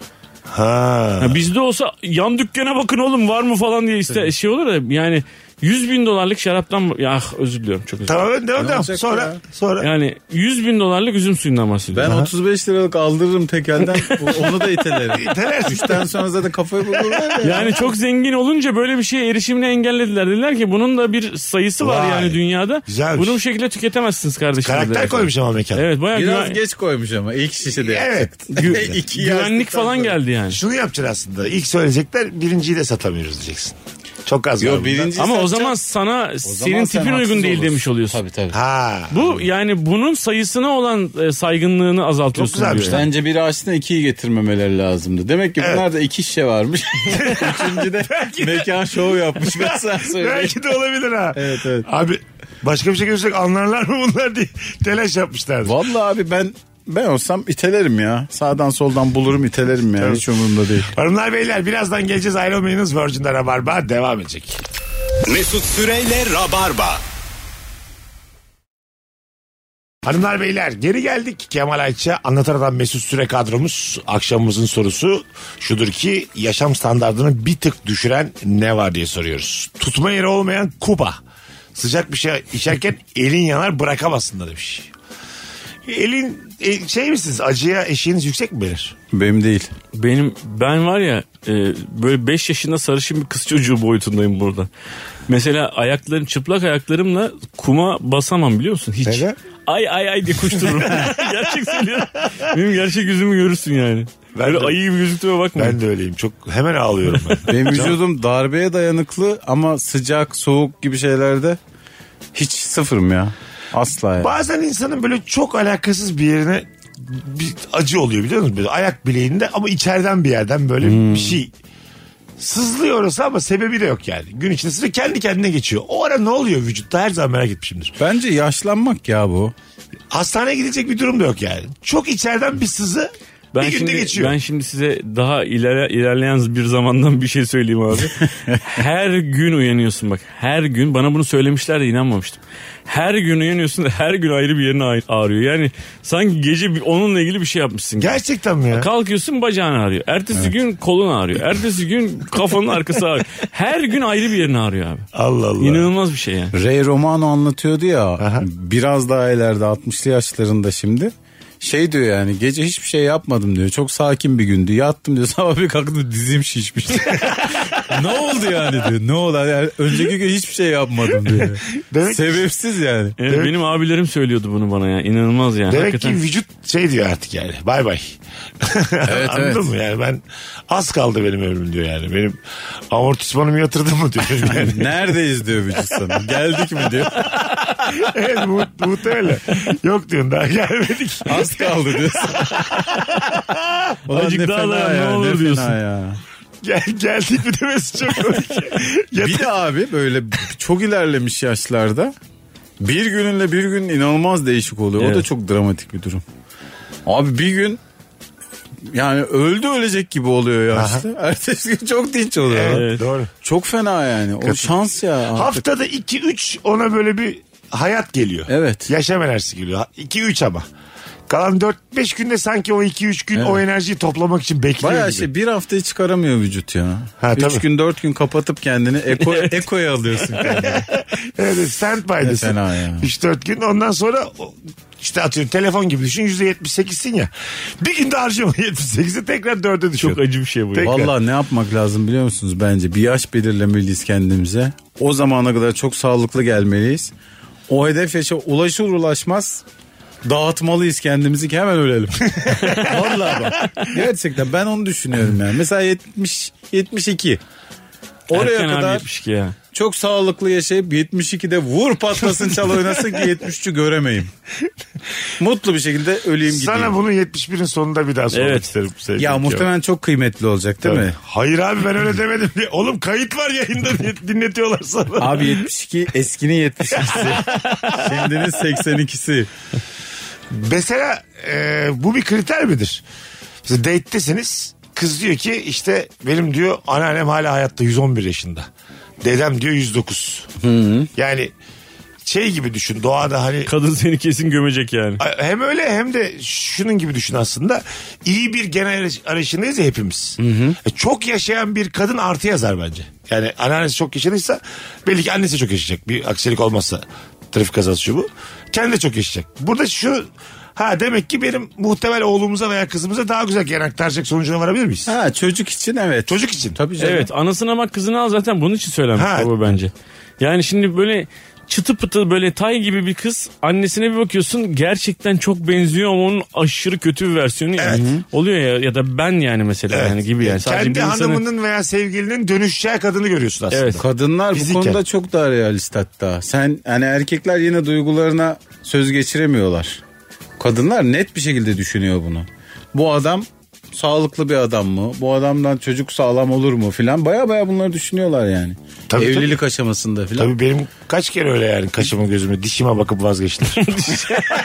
Speaker 3: Ha.
Speaker 5: Ya bizde olsa yan dükkana bakın oğlum var mı falan diye iste şey olur da yani 100 bin dolarlık şaraptan ya ah, özür diliyorum çok özür
Speaker 3: Tamam devam devam.
Speaker 4: olacak
Speaker 3: Sonra
Speaker 4: ya?
Speaker 3: sonra.
Speaker 5: Yani 100 bin dolarlık üzüm suyundan
Speaker 4: Ben
Speaker 5: bahsediyorum.
Speaker 4: 35 liralık aldırırım tekelden. O- Onu da itelerim.
Speaker 3: İtelersin.
Speaker 4: Üçten sonra zaten kafayı bulurlar ya.
Speaker 5: Yani çok zengin olunca böyle bir şeye erişimini engellediler. Dediler ki bunun da bir sayısı var
Speaker 3: Vay.
Speaker 5: yani dünyada.
Speaker 3: Güzelmiş.
Speaker 5: Bunu bu şekilde tüketemezsiniz kardeşim.
Speaker 3: Karakter
Speaker 5: dediler.
Speaker 3: koymuş ama mekan.
Speaker 5: Evet bayağı
Speaker 4: Biraz
Speaker 5: güven-
Speaker 4: geç koymuş ama ilk şişede
Speaker 3: Evet.
Speaker 4: yaptı. İki
Speaker 5: güvenlik
Speaker 4: yaşlıktan
Speaker 5: falan
Speaker 4: sonra.
Speaker 5: geldi yani.
Speaker 3: Şunu yapacaksın aslında. İlk söyleyecekler birinciyi de satamıyoruz diyeceksin. Çok az var
Speaker 4: Yo,
Speaker 3: bundan.
Speaker 4: birinci
Speaker 5: Ama o
Speaker 4: satacak.
Speaker 5: zaman sana
Speaker 4: zaman
Speaker 5: senin
Speaker 4: sen
Speaker 5: tipin uygun
Speaker 4: haksız
Speaker 5: değil
Speaker 4: olursun.
Speaker 5: demiş oluyorsun.
Speaker 4: Tabii tabii.
Speaker 3: Ha.
Speaker 5: Bu yani bunun sayısına olan e, saygınlığını azaltıyorsun.
Speaker 3: Çok güzelmiş
Speaker 5: diyor.
Speaker 3: lan.
Speaker 4: Bence biri açtığında ikiyi getirmemeleri lazımdı. Demek ki bunlar da iki şişe varmış. Üçüncüde mekan şov yapmış. Ben sana söyleyeyim.
Speaker 3: Belki de olabilir ha.
Speaker 4: Evet, evet.
Speaker 3: Abi başka bir şey görsek anlarlar mı bunlar diye telaş yapmışlardı.
Speaker 4: Vallahi abi ben ben olsam itelerim ya. Sağdan soldan bulurum itelerim ya. Hiç umurumda değil.
Speaker 3: Hanımlar beyler birazdan geleceğiz ayrılmayınız Virgin'de Rabarba devam edecek.
Speaker 2: Mesut Süreyle Rabarba.
Speaker 3: Hanımlar beyler geri geldik Kemal Ayça anlatan adam Mesut Süre kadromuz akşamımızın sorusu şudur ki yaşam standartını bir tık düşüren ne var diye soruyoruz. Tutma yeri olmayan kuba sıcak bir şey içerken elin yanar bırakamazsın da demiş. Elin e, şey misiniz acıya eşiğiniz yüksek mi belir?
Speaker 4: Benim değil.
Speaker 5: Benim ben var ya e, böyle 5 yaşında sarışın bir kız çocuğu boyutundayım burada. Mesela ayaklarım çıplak ayaklarımla kuma basamam biliyor musun hiç.
Speaker 3: Neden?
Speaker 5: Ay ay ay diye koştururum. gerçek söylüyorum. Benim gerçek yüzümü görürsün yani.
Speaker 3: Ben
Speaker 5: böyle
Speaker 3: de-
Speaker 5: ayı gibi gözüktüğüme bakma.
Speaker 3: Ben de öyleyim çok hemen ağlıyorum ben.
Speaker 4: Benim vücudum darbeye dayanıklı ama sıcak, soğuk gibi şeylerde hiç sıfırım ya. Asla ya.
Speaker 3: Bazen insanın böyle çok alakasız bir yerine bir acı oluyor biliyor musun? Böyle ayak bileğinde ama içeriden bir yerden böyle
Speaker 5: Hmm.
Speaker 3: bir şey sızlıyor orası ama sebebi de yok yani. Gün içinde sırf kendi kendine geçiyor. O ara ne oluyor vücutta her zaman merak etmişimdir.
Speaker 4: Bence yaşlanmak ya bu.
Speaker 3: Hastaneye gidecek bir durum da yok yani. Çok içeriden bir sızı
Speaker 5: Ben
Speaker 3: bir günde
Speaker 5: şimdi,
Speaker 3: geçiyor.
Speaker 5: Ben şimdi size daha ileri, ilerleyen bir zamandan bir şey söyleyeyim abi. her gün uyanıyorsun bak. Her gün bana bunu söylemişler de inanmamıştım. Her gün uyanıyorsun da her gün ayrı bir yerin ağ- ağrıyor. Yani sanki gece bir- onunla ilgili bir şey yapmışsın. gibi.
Speaker 3: Gerçekten mi ya?
Speaker 5: Kalkıyorsun bacağın ağrıyor. Ertesi gün kolun ağrıyor. Ertesi gün kafanın arkası ağrıyor. Her gün ayrı bir yerin ağrıyor abi.
Speaker 3: Allah Allah.
Speaker 5: İnanılmaz bir şey yani.
Speaker 4: Ray Romano anlatıyordu ya
Speaker 3: Aha.
Speaker 4: biraz daha ileride 60'lı yaşlarında şimdi şey diyor yani gece hiçbir şey yapmadım diyor. Çok sakin bir gündü. Yattım diyor. Sabah bir kalktım dizim şişmişti. ne oldu yani diyor. Ne oldu? Yani önceki gün hiçbir şey yapmadım diyor.
Speaker 3: Demek-
Speaker 4: Sebepsiz yani.
Speaker 5: Evet, Benim abilerim söylüyordu bunu bana ya. İnanılmaz yani.
Speaker 3: Demek
Speaker 5: Hakikaten.
Speaker 3: ki vücut şey diyor artık yani. Bay bay.
Speaker 4: Evet,
Speaker 3: Anladın
Speaker 4: evet.
Speaker 3: mı yani ben az kaldı benim ömrüm diyor yani. Benim amortismanımı yatırdım mı diyor. Yani.
Speaker 4: Neredeyiz diyor vücut sana. Geldik mi diyor.
Speaker 3: evet mu- muhtemelen. Yok diyorsun daha gelmedik.
Speaker 4: Az kaldı diyorsun. Ulan
Speaker 5: Azıcık
Speaker 4: ne
Speaker 5: daha
Speaker 4: fena
Speaker 5: lan,
Speaker 4: ya,
Speaker 5: ne olur
Speaker 4: fena
Speaker 5: diyorsun.
Speaker 4: ya.
Speaker 3: Gel, geldik mi demesi çok komik. Yat-
Speaker 4: Bir de abi böyle çok ilerlemiş yaşlarda bir gününle bir gün inanılmaz değişik oluyor. O da
Speaker 5: Evet.
Speaker 4: çok dramatik bir durum. Abi bir gün yani öldü ölecek gibi oluyor yaşlı. Ertesi gün çok dinç oluyor.
Speaker 3: Evet,
Speaker 5: Evet.
Speaker 3: doğru.
Speaker 4: Çok fena yani. O şans ya. artık.
Speaker 3: Haftada 2-3 ona böyle bir hayat geliyor.
Speaker 4: Evet.
Speaker 3: Yaşam enerjisi geliyor. 2-3 ama. Kalan 4-5 günde sanki o 2-3 gün o enerjiyi toplamak için bekliyor
Speaker 4: Bayağı
Speaker 3: gibi.
Speaker 4: şey bir hafta hiç çıkaramıyor vücut ya.
Speaker 3: Ha,
Speaker 4: Üç
Speaker 3: tabii.
Speaker 4: gün dört gün kapatıp kendini eko, ekoya alıyorsun. kendini.
Speaker 3: Evet standby'desin.
Speaker 4: Ne fena ya.
Speaker 3: 3-4 gün ondan sonra o- işte atıyorum telefon gibi düşün %78'sin ya. Bir günde harcama 78'i tekrar 4'e düşüyor.
Speaker 5: çok acı bir şey bu. ya.
Speaker 3: Tek- Tekrar.
Speaker 4: Vallahi ne yapmak lazım biliyor musunuz bence? Bir yaş belirlemeliyiz kendimize. O zamana kadar çok sağlıklı gelmeliyiz. O hedef yaşa ulaşır ulaşmaz dağıtmalıyız kendimizi ki hemen ölelim. Vallahi bak. Gerçekten ben onu düşünüyorum yani. Mesela 70 72. Oraya
Speaker 5: Erken abi
Speaker 4: kadar
Speaker 5: 72 ya.
Speaker 4: çok sağlıklı yaşayıp 72'de vur patlasın çal oynasın ki 73'ü göremeyim. Mutlu bir şekilde öleyim gideyim.
Speaker 3: Sana bunu 71'in sonunda bir daha sormak
Speaker 5: Evet.
Speaker 3: isterim. sevgili
Speaker 4: ya
Speaker 3: Kemal.
Speaker 4: muhtemelen çok kıymetli olacak değil
Speaker 3: Tabii.
Speaker 4: mi?
Speaker 3: Hayır abi ben öyle demedim. diye. Oğlum kayıt var yayında diye dinletiyorlar sana.
Speaker 4: Abi 72 eskinin 72'si. Şimdinin 82'si.
Speaker 3: Mesela e, bu bir kriter midir? Mesela date'tesiniz. Kız diyor ki işte benim diyor anneannem hala hayatta 111 yaşında. Dedem diyor 109. Yani şey gibi düşün doğada hani
Speaker 5: Kadın seni kesin gömecek yani.
Speaker 3: hem öyle hem de şunun gibi düşün aslında. İyi bir genel arayış- arayışındayız ya hepimiz. E, Çok yaşayan bir kadın artı yazar bence. Yani anneannesi çok yaşadıysa belli ki annesi çok yaşayacak. Bir aksilik olmazsa trafik kazası şu bu. Kendi de çok yaşayacak. Burada şu ha demek ki benim muhtemel oğlumuza veya kızımıza daha güzel genel aktaracak sonucuna varabilir miyiz?
Speaker 4: Ha çocuk için evet.
Speaker 3: Çocuk için.
Speaker 4: Tabii canım.
Speaker 5: Evet anasına bak kızını al zaten bunun için söylenmiş
Speaker 3: Ha.
Speaker 5: baba bence. Yani şimdi böyle çıtı pıtı böyle tay gibi bir kız annesine bir bakıyorsun gerçekten çok benziyor ama onun aşırı kötü bir versiyonu yani. Oluyor ya ya da ben yani mesela
Speaker 3: Evet.
Speaker 5: yani gibi yani. Sadece
Speaker 3: Kendi
Speaker 5: bir insanı-
Speaker 3: hanımının veya sevgilinin dönüşeceği kadını görüyorsun aslında.
Speaker 5: Evet.
Speaker 4: Kadınlar
Speaker 3: Fiziken.
Speaker 4: bu konuda çok daha realist hatta. Sen hani erkekler yine duygularına söz geçiremiyorlar. Kadınlar net bir şekilde düşünüyor bunu. Bu adam sağlıklı bir adam mı? Bu adamdan çocuk sağlam olur mu filan. Baya baya bunları düşünüyorlar yani.
Speaker 3: Tabii,
Speaker 4: Evlilik aşamasında filan.
Speaker 3: Tabii benim kaç kere öyle yani kaşıma gözüme dişime bakıp vazgeçtim.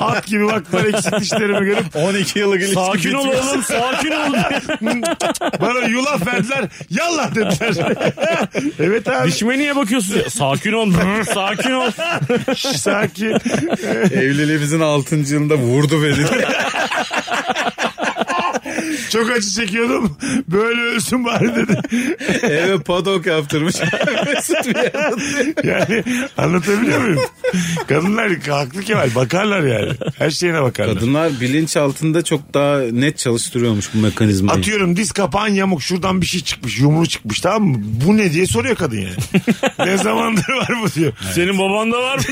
Speaker 3: At gibi baktılar eksik dişlerimi görüp
Speaker 4: 12 yıllık ilişki
Speaker 5: Sakin ol
Speaker 4: bitmiş.
Speaker 5: oğlum sakin ol.
Speaker 3: bana yulaf verdiler yallah dediler. evet abi
Speaker 5: Dişime niye bakıyorsun? Ya, Sakin ol. sakin ol.
Speaker 3: sakin.
Speaker 4: Evliliğimizin 6. yılında vurdu beni.
Speaker 3: Çok acı çekiyordum. Böyle ölsün bari dedi.
Speaker 4: Eve padok yaptırmış. Mesut bir yerde duruyor.
Speaker 3: Yani anlatabiliyor muyum? Kadınlar haklı Kemal bakarlar yani. Her şeyine bakarlar.
Speaker 4: Kadınlar bilinç altında çok daha net çalıştırıyormuş bu mekanizmayı.
Speaker 3: Atıyorum diz kapağın yamuk şuradan bir şey çıkmış yumru çıkmış tamam mı? Bu ne diye soruyor kadın yani. ne zamandır var bu diyor.
Speaker 5: Senin baban da var mı?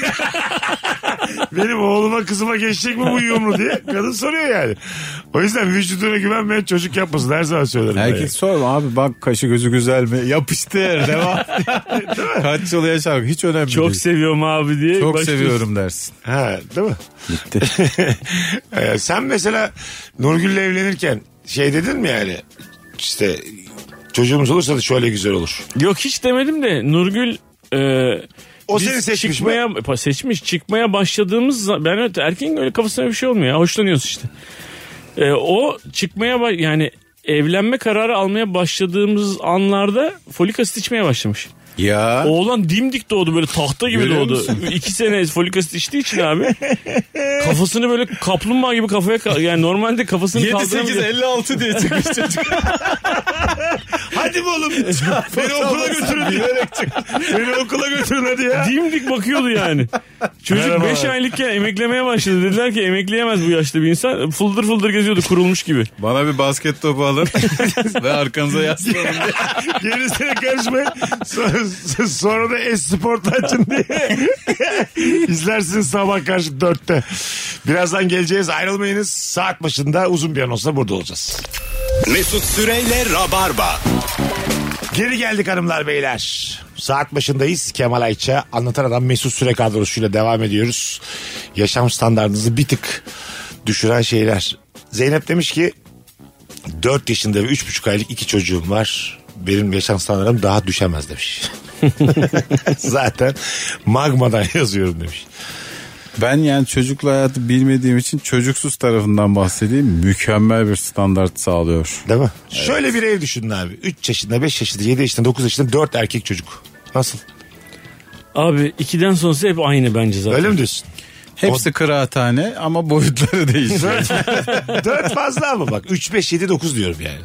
Speaker 3: Benim oğluma kızıma geçecek mi bu yumru diye kadın soruyor yani. O yüzden vücuduna güvenmeyen çocuk yapmasın her zaman söylerim. ben
Speaker 4: Erkek sorma abi bak kaşı gözü güzel mi? Yapıştır devam. Kaç yıl yaşar hiç önemli
Speaker 5: Çok
Speaker 4: değil.
Speaker 5: seviyorum abi diye.
Speaker 4: Çok
Speaker 5: başlıyorsun.
Speaker 4: seviyorum dersin.
Speaker 3: yani. Ha, değil mi? Ee, sen mesela Nurgül'le evlenirken şey dedin mi yani işte çocuğumuz olursa da şöyle güzel olur.
Speaker 5: Yok hiç demedim de Nurgül e,
Speaker 3: O
Speaker 5: biz
Speaker 3: seni seçmiş
Speaker 5: çıkmaya, pa- Seçmiş. Çıkmaya başladığımız za- ben öyle- erkeğin öyle kafasına bir şey olmuyor. ya, Hoşlanıyorsun işte. E, o çıkmaya ba- yani evlenme kararı almaya başladığımız anlarda folik asit içmeye başlamış.
Speaker 4: Ya.
Speaker 5: Oğlan dimdik doğdu böyle tahta gibi
Speaker 4: Görüyor
Speaker 5: doğdu.
Speaker 4: musun?
Speaker 5: İki sene folik asit içtiği için abi kafasını böyle kaplumbağa gibi kafaya ka- yani normalde kafasını
Speaker 4: 7 8
Speaker 5: kaldıramıyor.
Speaker 4: 56 diye çıkmış çocuk.
Speaker 3: Hadi be oğlum beni okula götürün diye. beni okula götürün hadi ya.
Speaker 5: Dimdik bakıyordu yani. Çocuk
Speaker 3: Merhaba.
Speaker 5: 5 aylıkken emeklemeye başladı. Dediler ki emekleyemez bu yaşta bir insan. Fıldır fıldır geziyordu kurulmuş gibi.
Speaker 4: Bana bir basket topu alın ve arkanıza yaslanın.
Speaker 3: Gerisine karışmayın. Sonra, sonra da Esport'u açın diye. İzlersiniz sabah karşı dörtte. Birazdan geleceğiz ayrılmayınız. Saat başında uzun bir an olsa burada olacağız.
Speaker 2: Mesut Süreyle Rabarba.
Speaker 3: Geri geldik hanımlar beyler. Saat başındayız. Kemal Ayça, Anlatan Adam Mesut Süre kadrosuyla devam ediyoruz. Yaşam standartınızı bir tık düşüren şeyler. Zeynep demiş ki 4 yaşında ve 3,5 aylık iki çocuğum var. Benim yaşam standartım daha düşemez demiş. Zaten magmadan yazıyorum demiş.
Speaker 4: Ben yani çocukla hayatı bilmediğim için çocuksuz tarafından bahsedeyim. Mükemmel bir standart sağlıyor.
Speaker 3: Değil mi? Şöyle bir ev düşünün abi. 3 yaşında, 5 yaşında, 7 yaşında, 9 yaşında 4 erkek çocuk. Nasıl?
Speaker 5: Abi 2'den sonrası hep aynı bence zaten.
Speaker 3: Öyle mi diyorsun?
Speaker 4: Hepsi kıraathane ama boyutları değişiyor.
Speaker 3: 4 fazla ama bak 3 5 7 9 diyorum yani.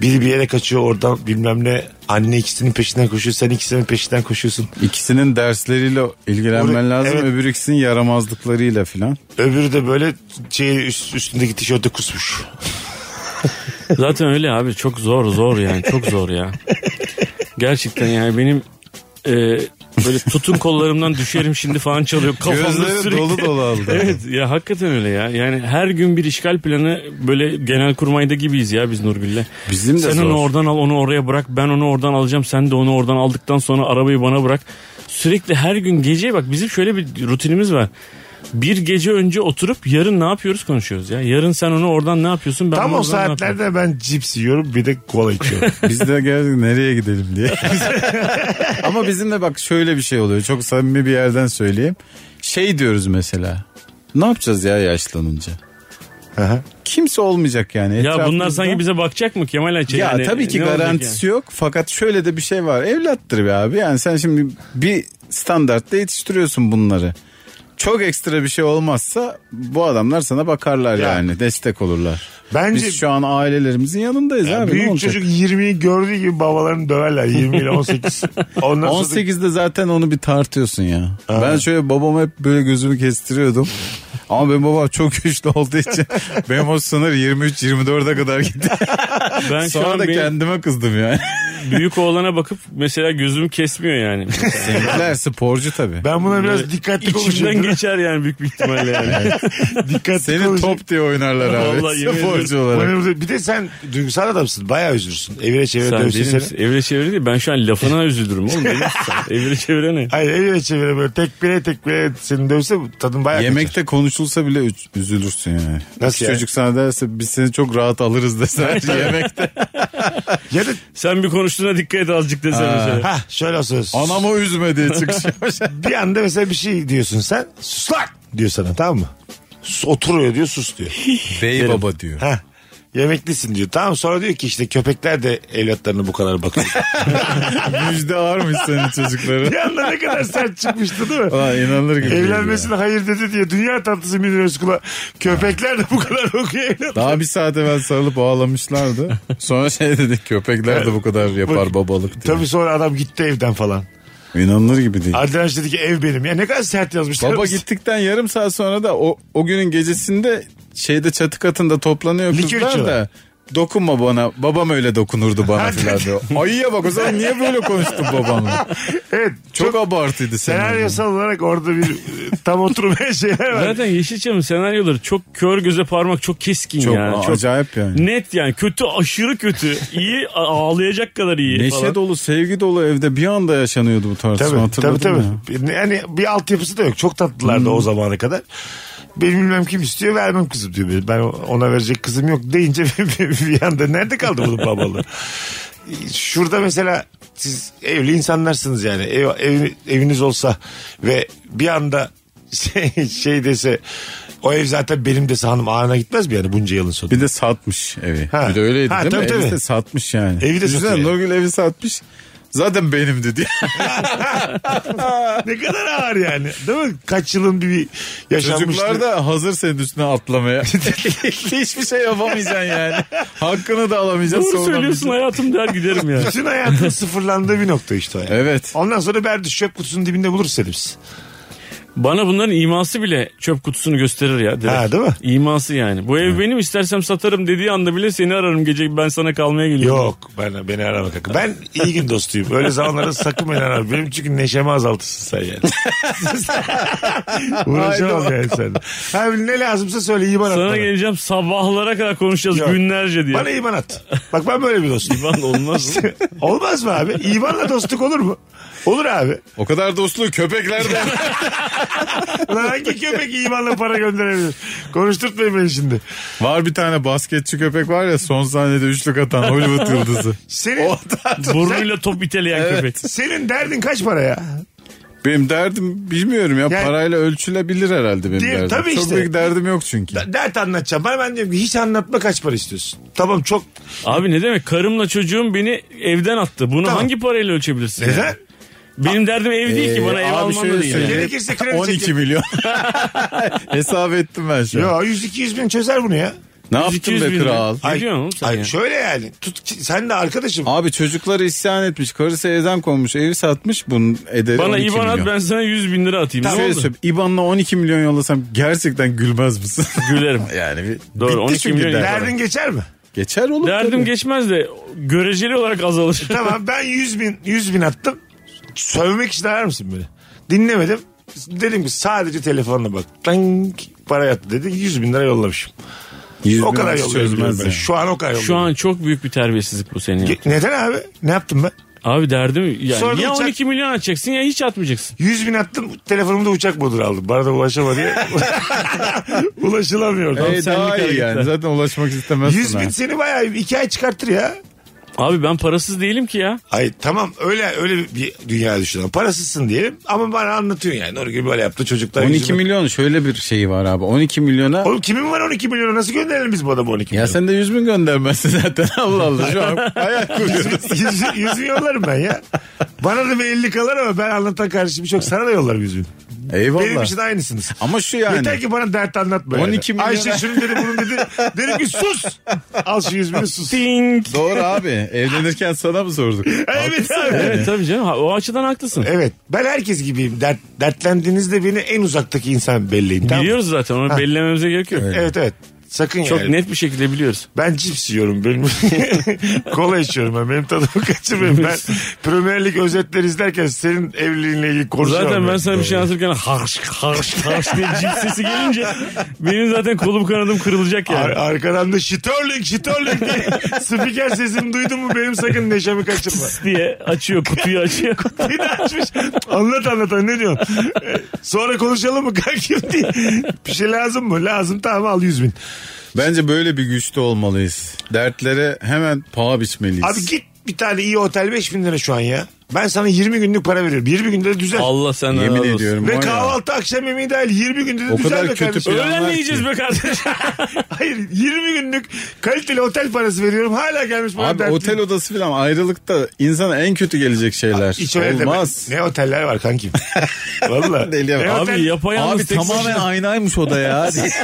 Speaker 3: Biri bir yere kaçıyor oradan bilmem ne anne ikisinin peşinden koşuyor sen ikisinin peşinden koşuyorsun.
Speaker 4: İkisinin dersleriyle ilgilenmen
Speaker 3: Oraya-
Speaker 4: lazım.
Speaker 3: evet.
Speaker 4: Öbür ikisinin yaramazlıklarıyla filan.
Speaker 3: Öbürü de böyle şey üst, üstündeki tişörte kusmuş.
Speaker 5: Zaten öyle abi çok zor zor yani çok zor ya. Gerçekten yani benim e, böyle tutun kollarımdan düşerim şimdi falan çalıyor. Kafamda
Speaker 4: Gözleri
Speaker 5: sürekli.
Speaker 4: dolu dolu aldı.
Speaker 5: Evet ya hakikaten öyle ya. Yani her gün bir işgal planı böyle genel kurmayda gibiyiz ya biz Nurgül'le.
Speaker 4: Bizim de
Speaker 5: Sen
Speaker 4: zor.
Speaker 5: onu oradan al onu oraya bırak ben onu oradan alacağım sen de onu oradan aldıktan sonra arabayı bana bırak. Sürekli her gün gece bak bizim şöyle bir rutinimiz var. Bir gece önce oturup yarın ne yapıyoruz konuşuyoruz ya. Yarın sen onu oradan ne yapıyorsun ben
Speaker 3: Tam o
Speaker 5: onu oradan ne yapıyorum?
Speaker 3: saatlerde ben cips yiyorum bir de kola içiyorum.
Speaker 4: Biz de geldik nereye gidelim diye. Ama bizim de bak şöyle bir şey oluyor. Çok samimi bir yerden söyleyeyim. Şey diyoruz mesela. Ne yapacağız ya yaşlanınca?
Speaker 3: Aha.
Speaker 4: Kimse olmayacak yani.
Speaker 5: Ya bunlar
Speaker 4: Etrafımızda-
Speaker 5: sanki bize bakacak mı Kemal Ayça?
Speaker 4: Ya
Speaker 5: yani,
Speaker 4: tabii ki
Speaker 5: ne olacak yani?
Speaker 4: garantisi yok fakat şöyle de bir şey var. Evlattır be abi. Yani sen şimdi bir standartta yetiştiriyorsun bunları. Çok ekstra bir şey olmazsa bu adamlar sana bakarlar
Speaker 3: Ya.
Speaker 4: yani. Destek olurlar.
Speaker 3: Bence-
Speaker 4: Biz şu an ailelerimizin yanındayız abi. ne
Speaker 3: Büyük
Speaker 4: olacak?
Speaker 3: çocuk 20'yi gördüğü gibi babalarını döverler 20 ile 18. Ondan sonra
Speaker 4: 18'de zaten onu bir tartıyorsun ya. Ben şöyle babam hep böyle gözümü kestiriyordum. Ama benim babam çok güçlü olduğu için benim o sınır 23-24'e kadar gitti.
Speaker 5: Ben şu
Speaker 4: Sonra
Speaker 5: an
Speaker 4: da
Speaker 5: benim
Speaker 4: kendime kızdım yani.
Speaker 5: büyük oğlana bakıp mesela gözüm kesmiyor yani.
Speaker 4: Seninkiler sporcu tabii.
Speaker 3: ben buna
Speaker 4: e,
Speaker 3: biraz dikkatli
Speaker 5: İçimden
Speaker 3: konuşuyorum.
Speaker 5: geçer yani büyük bir ihtimalle yani.
Speaker 3: dikkatli
Speaker 4: Senin
Speaker 3: konuşuyorum.
Speaker 4: top diye oynarlar abi.
Speaker 5: Vallahi yemin
Speaker 4: sporcu
Speaker 5: ediyorum.
Speaker 4: olarak.
Speaker 3: Bana- Bir de sen duygusal adamsın. Bayağı üzülürsün. Evire çevire
Speaker 5: Sen
Speaker 3: dövsün
Speaker 5: benim
Speaker 3: seni.
Speaker 5: evre çevre değil ben şu an lafına üzülürüm oğlum. Benim sen evre çevre ne?
Speaker 3: Hayır evire çevire böyle tek bire tek bire seni dövse tadın bayağı kaçar.
Speaker 4: Yemekte konuşulsa bile üz- üzülürsün yani.
Speaker 3: Nasıl
Speaker 4: İki
Speaker 3: yani?
Speaker 4: Çocuk sana derse biz seni çok rahat alırız dese yemekte.
Speaker 3: Ya da
Speaker 5: Sen bir konuştuğuna dikkat et azıcık desen mesela.
Speaker 3: ha şöyle söz.
Speaker 4: Anamı üzme diye çıkış yapmış.
Speaker 3: Bir anda mesela bir şey diyorsun sen. Sus lan diyor sana tamam mı? Sus, oturuyor diyor sus diyor.
Speaker 4: Bey baba diyor.
Speaker 3: Ha. Yemeklisin diyor. Tamam sonra diyor ki işte köpekler de evlatlarına bu kadar bakıyor.
Speaker 4: Müjde ağırmış senin çocukların.
Speaker 3: bir anda ne kadar sert çıkmıştı değil mi?
Speaker 4: Ulan inanılır gibi. değil ya.
Speaker 3: Evlenmesine hayır dedi diye dünya tatlısı Münir Özkul'a köpekler de bu kadar okuyor evlat.
Speaker 4: Daha bir saat evvel sarılıp ağlamışlardı. Sonra şey dedik köpekler de bu kadar yapar babalık diye.
Speaker 3: Tabii sonra adam gitti evden falan.
Speaker 4: İnanılır gibi değil.
Speaker 3: Arkadaş dedi ki ev benim. Ya ne kadar sert yazmışlar.
Speaker 4: Baba gittikten yarım saat sonra da o, o günün gecesinde şeyde çatı katında toplanıyor
Speaker 3: Likör
Speaker 4: kızlar
Speaker 3: içiyorlar.
Speaker 4: da Dokunma bana. Babam öyle dokunurdu bana filan diyor. Ayıya bak o zaman niye böyle konuştun babamla?
Speaker 3: Evet.
Speaker 4: Çok, abartıydı senin.
Speaker 3: Senaryosal olarak orada bir e, tam oturmayan şeyler var.
Speaker 5: Zaten Yeşilçam'ın senaryoları çok kör göze parmak çok keskin
Speaker 4: Çok
Speaker 5: yani.
Speaker 4: a-
Speaker 5: Çok
Speaker 4: acayip yani.
Speaker 5: net yani kötü aşırı kötü. İyi a- ağlayacak kadar iyi
Speaker 4: Neşe
Speaker 5: falan.
Speaker 4: dolu, sevgi dolu evde bir anda yaşanıyordu bu tartışma
Speaker 3: Tabii tabii
Speaker 4: hatırladın
Speaker 3: tabii.
Speaker 4: mı? Hmm.
Speaker 3: Bir- Yani bir altyapısı da yok. Çok tatlılardı o zamana kadar. Benim bilmem kim istiyor vermem kızım diyor. Ben ona verecek kızım yok deyince bir anda nerede kaldı bunun babalığı? Şurada mesela siz evli insanlarsınız yani. Ev, ev- eviniz olsa ve bir anda şey, şey dese o ev zaten benim dese hanım ağrına gitmez mi yani bunca yılın sonu?
Speaker 4: Bir de satmış evi.
Speaker 3: Ha.
Speaker 4: Bir de öyleydi
Speaker 3: Ha,
Speaker 4: değil
Speaker 3: tabii,
Speaker 4: mi? Evi
Speaker 3: tabii.
Speaker 4: de satmış yani.
Speaker 3: Evi de
Speaker 4: Düşünsene,
Speaker 3: satıyor.
Speaker 4: Nurgül evi satmış. Zaten benimdi diye.
Speaker 3: Ne kadar ağır yani değil mi? Kaç yılın bir, bir yaşanmışlığı.
Speaker 4: Çocuklar da hazır senin üstüne atlamaya. Hiçbir şey yapamayacaksın yani. Hakkını da alamayacaksın.
Speaker 5: Doğru söylüyorsun
Speaker 4: savunamayacaksın.
Speaker 5: hayatım der giderim yani.
Speaker 3: Bütün hayatın sıfırlandığı bir nokta işte o yani.
Speaker 4: Evet.
Speaker 3: Ondan sonra berdi çöp kutusunun dibinde buluruz hepimiz.
Speaker 5: Bana bunların iması bile çöp kutusunu gösterir ya. Direkt.
Speaker 3: Ha, değil mi?
Speaker 5: İması yani. Bu ev benim istersem satarım dediği anda bile seni ararım gece ben sana kalmaya geliyorum.
Speaker 3: Yok ben beni arama kanka. Ben iyi gün dostuyum. Öyle zamanlarda sakın beni arama. Benim çünkü neşemi azaltırsın sen yani. Uğraşamam yani sen. Abi ne lazımsa söyle iman at.
Speaker 5: Sana
Speaker 3: Bana.
Speaker 5: geleceğim sabahlara kadar konuşacağız
Speaker 3: Yok.
Speaker 5: günlerce diye.
Speaker 3: bana iman at. Bak ben böyle bir dostum.
Speaker 5: Lan olmaz mı?
Speaker 3: Olmaz mı abi? İmanla dostluk olur mu? Olur abi.
Speaker 4: O kadar dostluğu köpeklerden.
Speaker 3: Ulan hangi köpek imanla para gönderebilir? Konuşturtmayın beni şimdi.
Speaker 4: var bir tane basketçi köpek var ya son saniyede üçlük atan Hollywood yıldızı.
Speaker 3: Senin,
Speaker 5: Burnuyla top iteleyen köpek.
Speaker 3: senin derdin kaç para ya?
Speaker 4: Benim derdim bilmiyorum ya
Speaker 3: Yani-
Speaker 4: parayla ölçülebilir herhalde benim
Speaker 3: Değil-
Speaker 4: derdim.
Speaker 3: tabii
Speaker 4: Çok
Speaker 3: işte.
Speaker 4: büyük derdim yok çünkü.
Speaker 3: D- dert anlatacağım. Bana ben diyorum ki hiç anlatma kaç para istiyorsun. Tamam çok.
Speaker 5: Abi ne demek karımla çocuğum beni evden attı. Bunu
Speaker 3: Tamam.
Speaker 5: hangi parayla ölçebilirsin?
Speaker 3: Neden?
Speaker 5: yani? Benim derdim ev değil ki bana
Speaker 4: Ee,
Speaker 5: ev
Speaker 4: abi
Speaker 5: alman
Speaker 4: şöyle
Speaker 5: da değil. yani.
Speaker 4: söyleyeyim.
Speaker 3: Gerekirse kredi
Speaker 4: 12
Speaker 3: çekelim.
Speaker 4: milyon. Hesap ettim ben şu an.
Speaker 3: Ya 100-200 bin çözer bunu ya.
Speaker 4: Ne
Speaker 5: 200
Speaker 4: yaptın be
Speaker 5: bin lira.
Speaker 4: kral?
Speaker 5: Ne diyorsun oğlum sen
Speaker 3: Ay,
Speaker 5: ya?
Speaker 3: Şöyle yani. Tut, ki- sen de arkadaşım.
Speaker 4: Abi çocukları isyan etmiş. Karısı evden konmuş. Evi satmış. Bunun ederi
Speaker 5: Bana
Speaker 3: şey
Speaker 4: 12
Speaker 5: İvan
Speaker 4: milyon.
Speaker 5: at ben sana 100 bin lira atayım.
Speaker 4: Şöyle
Speaker 5: Ne oldu?
Speaker 4: söyleyeyim, İban'la 12 milyon yollasam gerçekten gülmez misin?
Speaker 5: Gülerim.
Speaker 4: yani bir,
Speaker 5: Doğru,
Speaker 4: bitti
Speaker 5: 12
Speaker 4: çünkü
Speaker 5: milyon
Speaker 4: dert.
Speaker 3: Derdin geçer mi?
Speaker 4: Geçer olur.
Speaker 5: Derdim
Speaker 4: tabii.
Speaker 5: geçmez de göreceli olarak azalır.
Speaker 3: tamam ben 100 bin, 100 bin attım. Sövmek için arar mısın beni? Dinlemedim. Dedim ki sadece telefonla bak. Tank para yattı dedi. 100 bin lira yollamışım.
Speaker 4: 100
Speaker 3: O
Speaker 4: bin
Speaker 3: kadar
Speaker 4: hiç
Speaker 3: yollamışım.
Speaker 4: çözmez
Speaker 3: ben.
Speaker 4: yani.
Speaker 3: Şu an o kadar
Speaker 5: Şu
Speaker 3: yollamışım.
Speaker 5: an çok büyük bir terbiyesizlik bu senin. ya.
Speaker 3: Ge- Neden abi? Ne yaptım ben?
Speaker 5: Abi derdim yani
Speaker 3: Sonra da
Speaker 5: ya
Speaker 3: uçak-
Speaker 5: 12 milyon atacaksın ya hiç atmayacaksın.
Speaker 3: 100 bin attım. Telefonumu da uçak moduna aldım. Bana da ulaşama diye. Ulaşılamıyordu.
Speaker 4: Ee, daha iyi
Speaker 5: hareketler.
Speaker 4: yani. Zaten ulaşmak istemezsin.
Speaker 3: 100 bin
Speaker 4: ha.
Speaker 3: seni bayağı iki ay çıkartır ya.
Speaker 5: Abi ben parasız değilim ki ya.
Speaker 3: Ay tamam öyle öyle bir dünya düşünüyorum. Parasızsın diyelim ama bana anlatıyorsun yani. Nuri gibi böyle yaptı çocuklar.
Speaker 4: 12
Speaker 3: yüzüme-
Speaker 4: milyon şöyle bir şeyi var abi. 12 milyona
Speaker 3: Oğlum kimin var 12 milyonu nasıl gönderelim biz bu adamı 12
Speaker 4: ya
Speaker 3: milyonu?
Speaker 4: sen de 100 bin göndermezsin zaten. Allah Allah şu an hayal kuruyoruz.
Speaker 3: 100, yollarım ben ya. Bana da bir 50 kalır ama ben anlatan kardeşim çok sana da yollarım 100 bin. Benim
Speaker 4: Eyvallah.
Speaker 3: için aynısınız.
Speaker 4: Ama şu yani.
Speaker 3: Yeter ki bana dert anlatma. yani.
Speaker 4: 12 milyon-
Speaker 3: Ayşe şunu dedi bunu dedi. Dedim ki sus. Al şu 100 bini sus.
Speaker 5: Ding.
Speaker 4: Doğru abi. Evlenirken sana mı sorduk?
Speaker 3: evet abi.
Speaker 5: Evet tabii canım ha, o açıdan haklısın.
Speaker 3: Evet. Ben herkes gibiyim. Dert, dertlendiğinizde beni en uzaktaki insan belleyin. Tamam. mı?
Speaker 5: Biliyoruz zaten onu bellememize gerek yok.
Speaker 3: Evet evet. Sakın
Speaker 5: Çok
Speaker 3: yani.
Speaker 5: net bir şekilde biliyoruz.
Speaker 3: Ben cips yiyorum. Benim kola içiyorum ben. Benim tadımı kaçırmayın. Ben Premier Lig özetleri izlerken senin evliliğinle ilgili konuşamam.
Speaker 5: Zaten ben sana bir şey
Speaker 3: Doğru.
Speaker 5: anlatırken harş harş harş diye cips sesi gelince benim zaten kolum kanadım kırılacak yani.
Speaker 3: Ar- arkadan da Şitörling Şitörling diye spiker sesini duydun mu benim sakın neşemi kaçırma.
Speaker 5: diye açıyor kutuyu açıyor.
Speaker 3: Bir de açmış. Anlat anlat ne diyorsun? Ee, Sonra konuşalım mı kankim diye. Bir şey lazım mı? Lazım tamam al 100 bin.
Speaker 4: Bence böyle bir güçte olmalıyız. Dertlere hemen paha biçmeliyiz.
Speaker 3: Abi git bir tane iyi otel 5 bin lira şu an ya. Ben sana 20 günlük para veriyorum. 20 günde de düzel.
Speaker 5: Allah senden
Speaker 4: Yemin
Speaker 5: razı olsun.
Speaker 4: ediyorum. var
Speaker 3: Ve
Speaker 4: ya.
Speaker 3: kahvaltı akşam yemeği dahil 20 günde de
Speaker 4: O
Speaker 3: düzel
Speaker 4: kadar
Speaker 3: be
Speaker 4: kötü
Speaker 3: kardeşim.
Speaker 4: plan.
Speaker 5: Öğlen ne yiyeceğiz be kardeşim?
Speaker 3: Hayır 20 günlük kaliteli otel parası veriyorum. Hala gelmiş bana
Speaker 4: Abi
Speaker 3: dert-
Speaker 4: otel odası falan ayrılıkta insana en kötü gelecek şeyler.
Speaker 3: Hiç öyle deme.
Speaker 4: Olmaz.
Speaker 3: Ne oteller var kankim. Valla.
Speaker 4: Deli ya.
Speaker 3: Ne
Speaker 4: Abi
Speaker 3: otel-
Speaker 5: Abi yapayalnız
Speaker 4: Abi
Speaker 5: tek
Speaker 4: tamamen aynaymış o da ya.
Speaker 3: Hayır,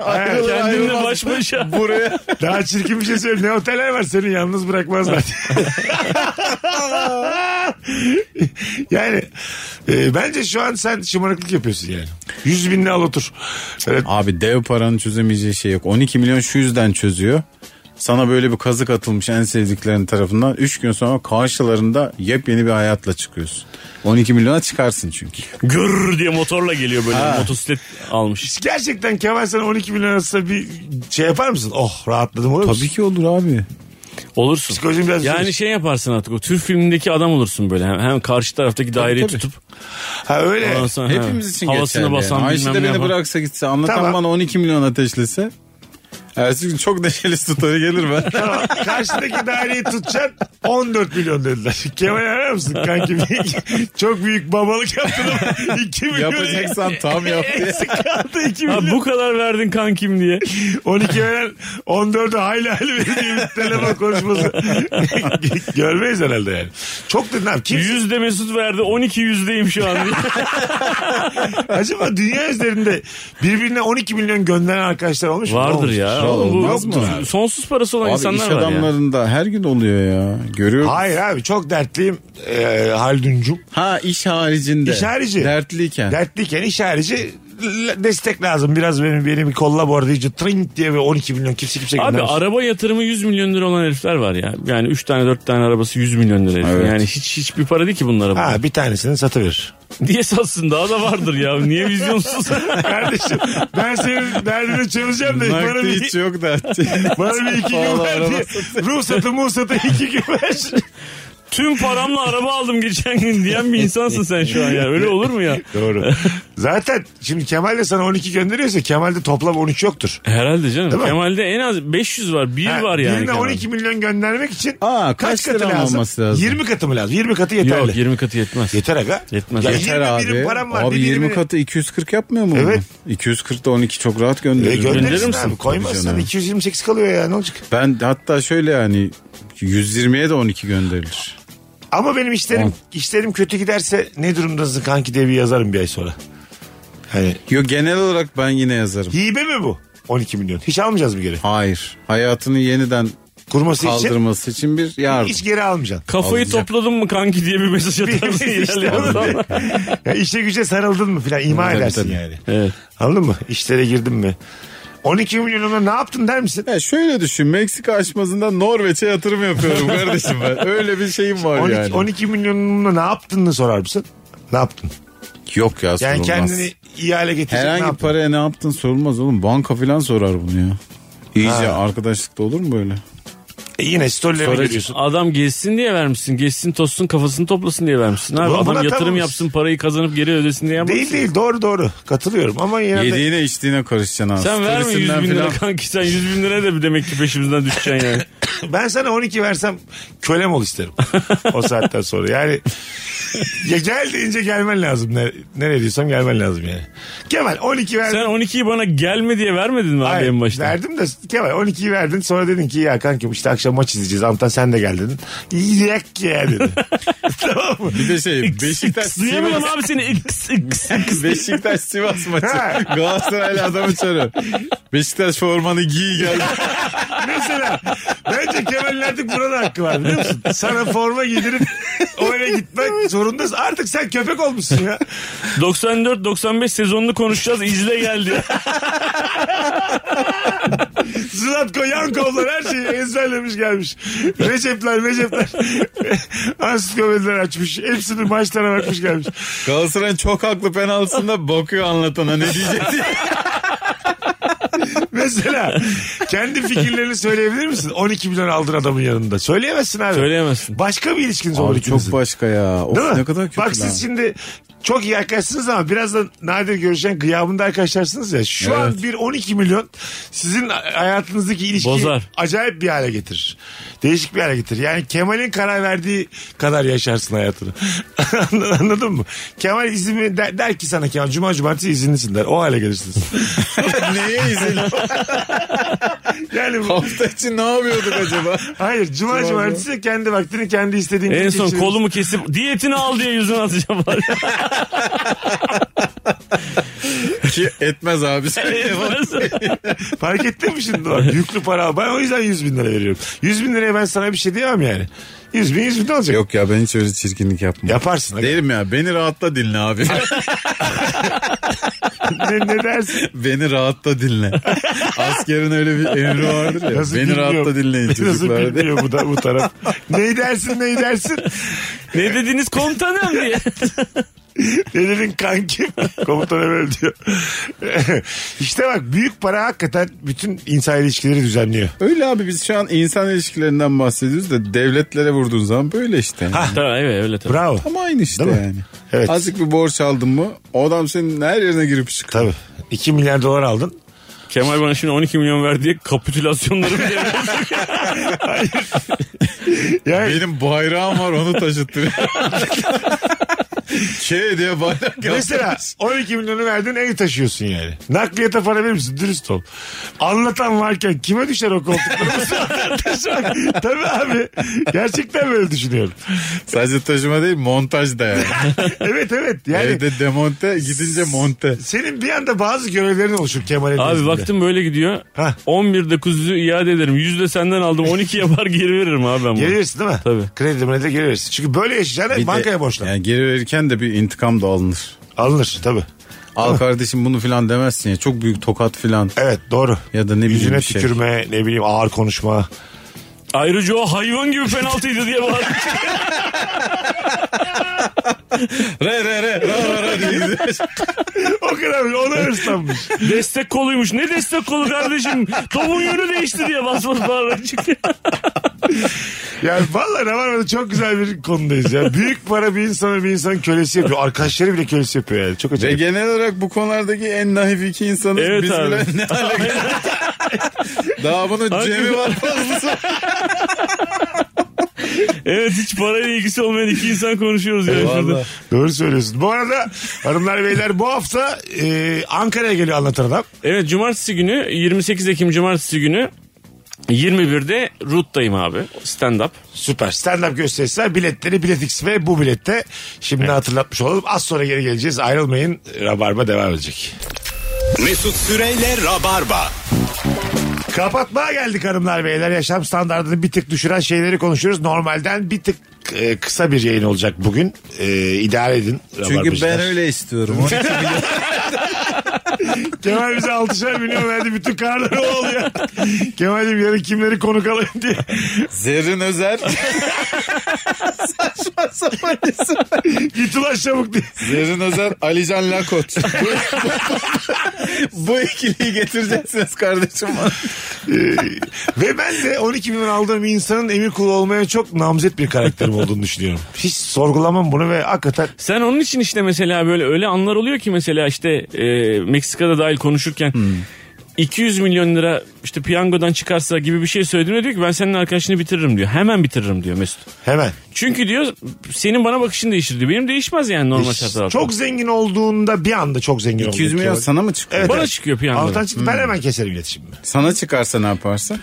Speaker 4: Ayrılır
Speaker 5: kendinle
Speaker 4: ayrılmaz.
Speaker 5: baş başa.
Speaker 4: Buraya.
Speaker 3: Daha çirkin bir şey söyle. Ne oteller var seni yalnız bırakmazlar. yani e, bence şu an sen şımarıklık yapıyorsun yani. 100 binle al otur. Evet.
Speaker 4: Abi dev paranın çözemeyeceği şey yok. 12 milyon şu yüzden çözüyor. Sana böyle bir kazık atılmış en sevdiklerin tarafından. Üç gün sonra karşılarında yepyeni bir hayatla çıkıyorsun. 12 milyona çıkarsın çünkü.
Speaker 5: Gür diye motorla geliyor böyle motosiklet almış.
Speaker 3: Gerçekten Kemal sana 12 milyon atsa bir şey yapar mısın? Oh rahatladım olur musun?
Speaker 4: Tabii ki olur abi.
Speaker 5: Olursun.
Speaker 3: Psikolojim biraz
Speaker 5: yani
Speaker 3: düzelir.
Speaker 5: şey yaparsın artık o Türk filmindeki adam olursun böyle. Hem, hem karşı taraftaki daireyi
Speaker 4: tabii.
Speaker 5: tutup
Speaker 3: Ha öyle.
Speaker 5: ondan sonra
Speaker 4: Hepimiz
Speaker 5: he,
Speaker 4: için
Speaker 5: havasını
Speaker 4: geçerli.
Speaker 5: basan
Speaker 4: yani. Ayşe de
Speaker 5: bilmem ne
Speaker 4: beni
Speaker 5: yapan.
Speaker 4: bıraksa gitse anlatan
Speaker 3: Tamam.
Speaker 4: bana 12 milyon ateşlese. Ertesi gün çok neşeli story gelir ben.
Speaker 3: Tamam. Karşıdaki daireyi tutacaksın 14 milyon dediler. Kemal arar mısın kanki? Çok büyük babalık yaptın ama 2 milyon
Speaker 4: Yapacaksan tam yap diye.
Speaker 3: eksik kaldı 2
Speaker 5: Ha,
Speaker 3: milyon.
Speaker 5: bu kadar verdin kankim diye.
Speaker 3: 12 veren 14'ü hayli hayli verdiğim telefon konuşması. Görmeyiz herhalde yani. Çok dedin abi. Kimse,
Speaker 5: Yüzde Mesut verdi 12 yüzdeyim şu an. diye.
Speaker 3: acaba dünya üzerinde birbirine 12 milyon gönderen arkadaşlar olmuş mu?
Speaker 5: Vardır
Speaker 3: Olmuş.
Speaker 5: ya.
Speaker 4: Ya
Speaker 5: Oğlum, bu
Speaker 4: olmaz mı?
Speaker 5: bu- sonsuz parası olan
Speaker 4: Abi iş
Speaker 5: insanlar var ya.
Speaker 4: adamlarında her gün oluyor ya. Görüyor musun?
Speaker 3: Hayır abi çok dertliyim e, Haldun'cum.
Speaker 4: Ha iş haricinde.
Speaker 3: İş harici.
Speaker 4: Dertliyken.
Speaker 3: Dertliyken iş harici l- destek lazım. Biraz benim beni bir kolla bu arada iyice trink diye ve 12 milyon kimse kimse
Speaker 5: Abi
Speaker 3: göndermiş.
Speaker 5: araba yatırımı 100 milyon lira olan herifler var ya. Yani 3 tane 4 tane arabası 100 milyon lira. herif.
Speaker 4: Evet.
Speaker 5: Yani hiç hiçbir para değil ki bunlara. bu.
Speaker 3: Ha bir tanesini satıverir.
Speaker 5: Niye satsın daha da vardır ya. Niye vizyonsuz?
Speaker 3: Kardeşim ben senin derdini çözeceğim de bana
Speaker 4: Nakdi
Speaker 3: bir,
Speaker 4: hiç yok da.
Speaker 3: bana bir iki gün
Speaker 4: Pahalı
Speaker 3: ver
Speaker 4: araba
Speaker 3: diye. Ruhsatı muhsatı iki gün ver.
Speaker 5: Tüm paramla araba aldım geçen gün diyen bir insansın sen şu an ya. Öyle olur mu ya?
Speaker 3: Doğru. Zaten şimdi Kemal de sana 12 gönderiyorsa Kemal'de toplam 13 yoktur.
Speaker 5: Herhalde canım.
Speaker 3: Değil mi?
Speaker 5: Kemal'de en az 500 var. 1
Speaker 3: Ha,
Speaker 5: var yani.
Speaker 3: Birine
Speaker 5: Kemal'de.
Speaker 3: 12 milyon göndermek için
Speaker 4: Aa, kaç lira olması lazım?
Speaker 3: 20 katı mı lazım? 20 katı yeterli.
Speaker 5: Yok 20 katı yetmez.
Speaker 3: Yeter aga.
Speaker 5: Yetmez.
Speaker 3: Ya
Speaker 4: Yeter
Speaker 3: 20
Speaker 4: abi.
Speaker 3: birim param var.
Speaker 4: Abi
Speaker 3: bir
Speaker 4: 20
Speaker 3: birimi-
Speaker 4: katı 240 yapmıyor mu?
Speaker 3: Evet.
Speaker 4: bunun? 240 da 12 çok rahat
Speaker 3: E,
Speaker 4: gönderiyor.
Speaker 3: gönderirsin
Speaker 5: Gönderir
Speaker 3: abi.
Speaker 5: misin? Tabii
Speaker 3: Koymazsan
Speaker 4: canım.
Speaker 3: 228 kalıyor ya ne olacak?
Speaker 4: Ben hatta şöyle yani 120'ye de 12 gönderilir.
Speaker 3: Ama benim işlerim
Speaker 4: On.
Speaker 3: işlerim kötü giderse ne durumdasın kanki diye bir yazarım bir ay sonra. Hani
Speaker 4: Yo genel olarak ben yine yazarım.
Speaker 3: hibe mi bu? 12 milyon. Hiç almayacağız mı geri?
Speaker 4: Hayır. Hayatını yeniden
Speaker 3: Kurması için
Speaker 4: kaldırması için bir yardım.
Speaker 3: hiç geri almayacaksın.
Speaker 5: Kafayı
Speaker 4: Alacak.
Speaker 5: topladın mı kanki diye bir mesaj atarsın ilerleyen zaman.
Speaker 3: ya işe güce sarıldın mı filan ima
Speaker 4: Tabii,
Speaker 3: edersin
Speaker 4: tabii.
Speaker 3: yani.
Speaker 5: Evet.
Speaker 3: Anladın mı? İşlere girdin mi? 12 milyonuna ne yaptın der misin?
Speaker 4: Ya şöyle düşün Meksika açmazında Norveç'e yatırım yapıyorum kardeşim ben. Öyle bir şeyim var
Speaker 3: 12,
Speaker 4: yani.
Speaker 3: 12 milyonuna ne yaptığını sorar mısın? Ne yaptın?
Speaker 4: Yok ya
Speaker 3: Yani
Speaker 4: sorulmaz.
Speaker 3: kendini iyi hale getirecek ne
Speaker 4: Herhangi
Speaker 3: yaptın?
Speaker 4: paraya ne yaptın sorulmaz oğlum. Banka falan sorar bunu ya. İyice arkadaşlıkta olur mu böyle?
Speaker 3: E yine storylerine
Speaker 4: Sonra-
Speaker 3: giriyorsun.
Speaker 5: Adam gezsin diye vermişsin. Gezsin tozsun kafasını toplasın diye vermişsin. Abi
Speaker 3: Buna-
Speaker 5: adam
Speaker 3: buna
Speaker 5: yatırım
Speaker 3: tamamız.
Speaker 5: yapsın parayı kazanıp geri ödesin diye yapmışsın.
Speaker 3: Değil değil doğru doğru katılıyorum ama yine de
Speaker 4: Yediğine içtiğine karışacaksın abi.
Speaker 5: Sen verme 100
Speaker 4: Stresinden
Speaker 5: bin lira
Speaker 4: falan.
Speaker 5: kanki sen 100 bin lira da bir demek ki peşimizden düşeceksin yani.
Speaker 3: ben sana 12 versem kölem ol isterim o saatten sonra yani ya gel deyince gelmen lazım ne, nereye diyorsam gelmen lazım yani Kemal 12 verdin
Speaker 5: sen 12'yi bana gelme diye vermedin mi abi
Speaker 3: Hayır,
Speaker 5: en başta?
Speaker 3: verdim de Kemal 12'yi verdin sonra dedin ki ya kankim işte akşam maç izleyeceğiz Antan sen de gel dedin yiyek ya dedi tamam mı
Speaker 4: Bir de şey Beşiktaş
Speaker 5: Duyamıyorum
Speaker 4: Sivas,
Speaker 5: abi seni. X, X, X.
Speaker 4: Beşiktaş Sivas maçı.
Speaker 3: Ha.
Speaker 4: Galatasaraylı adamı çağırıyor. Beşiktaş formanı giy gel.
Speaker 3: mesela bence Kemal'in artık burada hakkı var biliyor musun sana forma giydirip o eve gitmek zorundasın artık sen köpek olmuşsun ya
Speaker 5: 94-95 sezonunu konuşacağız. İzle geldi.
Speaker 3: Zlatko Yankovlar her şeyi ezberlemiş gelmiş. Recepler Recepler. Ansiklopediler açmış. Hepsini maçlara bakmış gelmiş.
Speaker 4: Galatasaray'ın çok haklı penaltısında bakıyor anlatana ne diyecek diye.
Speaker 3: Mesela kendi fikirlerini söyleyebilir misin? 12 milyon aldın adamın yanında. Söyleyemezsin abi.
Speaker 5: Söyleyemezsin.
Speaker 3: Başka bir ilişkiniz olur
Speaker 4: Abi
Speaker 3: ikinizin.
Speaker 4: çok başka ya. Of,
Speaker 3: Değil mi?
Speaker 4: ne kadar kötü
Speaker 3: Bak
Speaker 4: lan.
Speaker 3: siz şimdi çok iyi arkadaşsınız ama birazdan nadir görüşen gıyabında arkadaşlarsınız ya. Şu an bir 12 milyon sizin hayatınızdaki ilişkiyi
Speaker 5: Bozar.
Speaker 3: acayip bir hale getirir. Değişik bir hale getirir. Yani Kemal'in karar verdiği kadar yaşarsın hayatını. Anladın mı? Kemal izin mi- der, der ki sana Kemal cuma cumartesi izinlisin der. O hale gelirsiniz.
Speaker 4: Neye izin?
Speaker 3: Yani bu-
Speaker 4: Hafta için ne yapıyorduk acaba?
Speaker 3: hayır cuma cumartesi kendi vaktini kendi istediğin
Speaker 5: En
Speaker 3: gibi
Speaker 5: son
Speaker 3: geçirirsin.
Speaker 5: kolumu kesip diyetini al diye yüzüne atacağım.
Speaker 4: Ki etmez abi.
Speaker 3: Fark ettin mi şimdi? Bak, yüklü para. Ben o yüzden 100 bin lira veriyorum. 100 bin liraya ben sana bir şey diyemem yani. 100 bin 100 bin olacak.
Speaker 4: Yok ya ben hiç öyle çirkinlik yapmam.
Speaker 3: Yaparsın. aga.
Speaker 4: Derim ya beni rahatla dinle abi.
Speaker 3: ne, ne dersin?
Speaker 4: beni rahatla dinle. Askerin öyle bir emri vardır ya.
Speaker 3: Nasıl
Speaker 4: beni
Speaker 3: bilmiyor?
Speaker 4: rahatla dinleyin
Speaker 3: Nasıl
Speaker 4: çocuklar. diye.
Speaker 3: bilmiyor bu, da, bu taraf. ne dersin ne dersin?
Speaker 5: ne dediniz komutanım diye.
Speaker 3: Ne dedin kankim? Komutan böyle diyor. işte bak büyük para hakikaten bütün insan ilişkileri düzenliyor.
Speaker 4: Öyle abi biz şu an insan ilişkilerinden bahsediyoruz da devletlere vurduğun zaman böyle işte.
Speaker 5: tamam evet öyle tabii.
Speaker 3: Bravo.
Speaker 4: Ama aynı işte
Speaker 3: Değil mi?
Speaker 4: yani.
Speaker 3: Evet.
Speaker 4: Azıcık bir borç aldın mı o adam senin her yerine girip çıkıyor.
Speaker 3: Tabii. 2 milyar dolar aldın.
Speaker 5: Kemal bana şimdi 12 milyon verdi diye kapitülasyonları bile yapıyor.
Speaker 3: Yani
Speaker 4: Benim bayrağım var onu taşıttırıyor. K diye bayrak
Speaker 3: Mesela 12 milyonu verdin ev taşıyorsun yani. Nakliyete para verir misin? Dürüst ol. Anlatan varken kime düşer o koltukları? Tabii abi. Gerçekten böyle düşünüyorum.
Speaker 4: Sadece taşıma değil montaj da yani.
Speaker 3: Evet evet. Yani
Speaker 4: Evde demonte gidince monte.
Speaker 3: senin bir anda bazı görevlerin oluşur Kemal'e.
Speaker 5: Abi baktım böyle gidiyor.
Speaker 3: Hah.
Speaker 5: 11.9'u iade ederim. 100 de senden aldım. 12 yapar geri veririm abi ben bunu.
Speaker 3: Geliyorsun değil mi?
Speaker 5: Tabii.
Speaker 3: Kredi mredi geri verirsin. Çünkü böyle yaşayacaksın
Speaker 4: Bir
Speaker 3: hep
Speaker 4: de-
Speaker 3: bankaya borçlan.
Speaker 4: Yani geri verirken de bir intikam da alınır.
Speaker 3: Alınır tabii.
Speaker 4: Al kardeşim bunu filan demezsin ya. Çok büyük tokat filan.
Speaker 3: Evet doğru.
Speaker 4: Ya da ne bileyim
Speaker 3: Yüzüne
Speaker 4: bir şey.
Speaker 3: tükürme ne bileyim ağır konuşma.
Speaker 5: Ayrıca o hayvan gibi penaltıydı diye bağırdı.
Speaker 4: Re re re. ra ra ra diye gidiyor.
Speaker 3: o kadar ona hırslanmış.
Speaker 5: destek koluymuş. Ne destek kolu kardeşim? Topun yönü değişti diye bas bas bağırarak çıkıyor.
Speaker 3: Yani vallahi Rabarba'da çok güzel bir konudayız ya. Büyük para bir insana bir insan kölesi yapıyor. Arkadaşları bile kölesi yapıyor yani. Çok
Speaker 4: Ve
Speaker 3: acayip.
Speaker 4: genel olarak bu konulardaki en naif iki insanız.
Speaker 5: Evet
Speaker 4: Biz
Speaker 5: abi.
Speaker 4: bile ne hale geldik. Daha bunun
Speaker 5: Hakikaten.
Speaker 4: cemi var fazlası. var.
Speaker 5: Evet hiç parayla ilgisi olmayan iki insan konuşuyoruz ya şurada.
Speaker 4: Vallahi.
Speaker 3: Doğru söylüyorsun. Bu arada hanımlar beyler bu hafta e, Ankara'ya geliyor anlatan adam.
Speaker 5: Evet cumartesi günü 28 Ekim cumartesi günü 21'de Root'tayım abi. Stand up.
Speaker 3: Süper. Stand up gösterisi biletleri Bilet X ve bu bilette. Şimdi hatırlatmış olalım. Az sonra geri geleceğiz. Ayrılmayın. Rabarba devam edecek.
Speaker 2: Mesut Süreyle Rabarba.
Speaker 3: Kapatmaya geldik hanımlar beyler. Yaşam standartını bir tık düşüren şeyleri konuşuyoruz. Normalden bir tık e, kısa bir yayın olacak bugün. E, idare edin. Rabarbacılar.
Speaker 4: istiyorum.
Speaker 3: Kemal bize 6'şer milyon verdi. Bütün karları o oluyor. Kemal'im yarın kimleri konuk alayım diye.
Speaker 4: Zerrin Özer. Saçma sapan isim.
Speaker 3: Git ulan çabuk diye.
Speaker 4: Zerrin Özer, Alican Lakot. bu, bu ikiliyi getireceksiniz kardeşim.
Speaker 3: Ee, Ve ben de 12 milyon aldığım bir insanın emir kulu olmaya çok namzet bir karakterim olduğunu düşünüyorum. Hiç sorgulamam bunu ve hakikaten
Speaker 5: Sen onun için işte mesela böyle öyle anlar oluyor ki mesela işte e, Meksika'da dahil konuşurken
Speaker 3: Hmm.
Speaker 5: 200 milyon lira işte piyangodan çıkarsa gibi bir şey söylediğimde diyor ki ben senin arkadaşını bitiririm diyor. Hemen bitiririm diyor Mesut.
Speaker 3: hemen.
Speaker 5: Çünkü diyor senin bana bakışın değişir diyor. Benim değişmez yani normal şartlar altında.
Speaker 3: Çok zengin olduğunda bir anda çok zengin
Speaker 4: 200
Speaker 3: oldum.
Speaker 4: milyon sana mı çıkıyor?
Speaker 3: Evet,
Speaker 5: Bana
Speaker 3: evet.
Speaker 5: çıkıyor piyangodan.
Speaker 3: Altan çıktı ben hemen keserim iletişimimi.
Speaker 4: Sana çıkarsa ne yaparsın?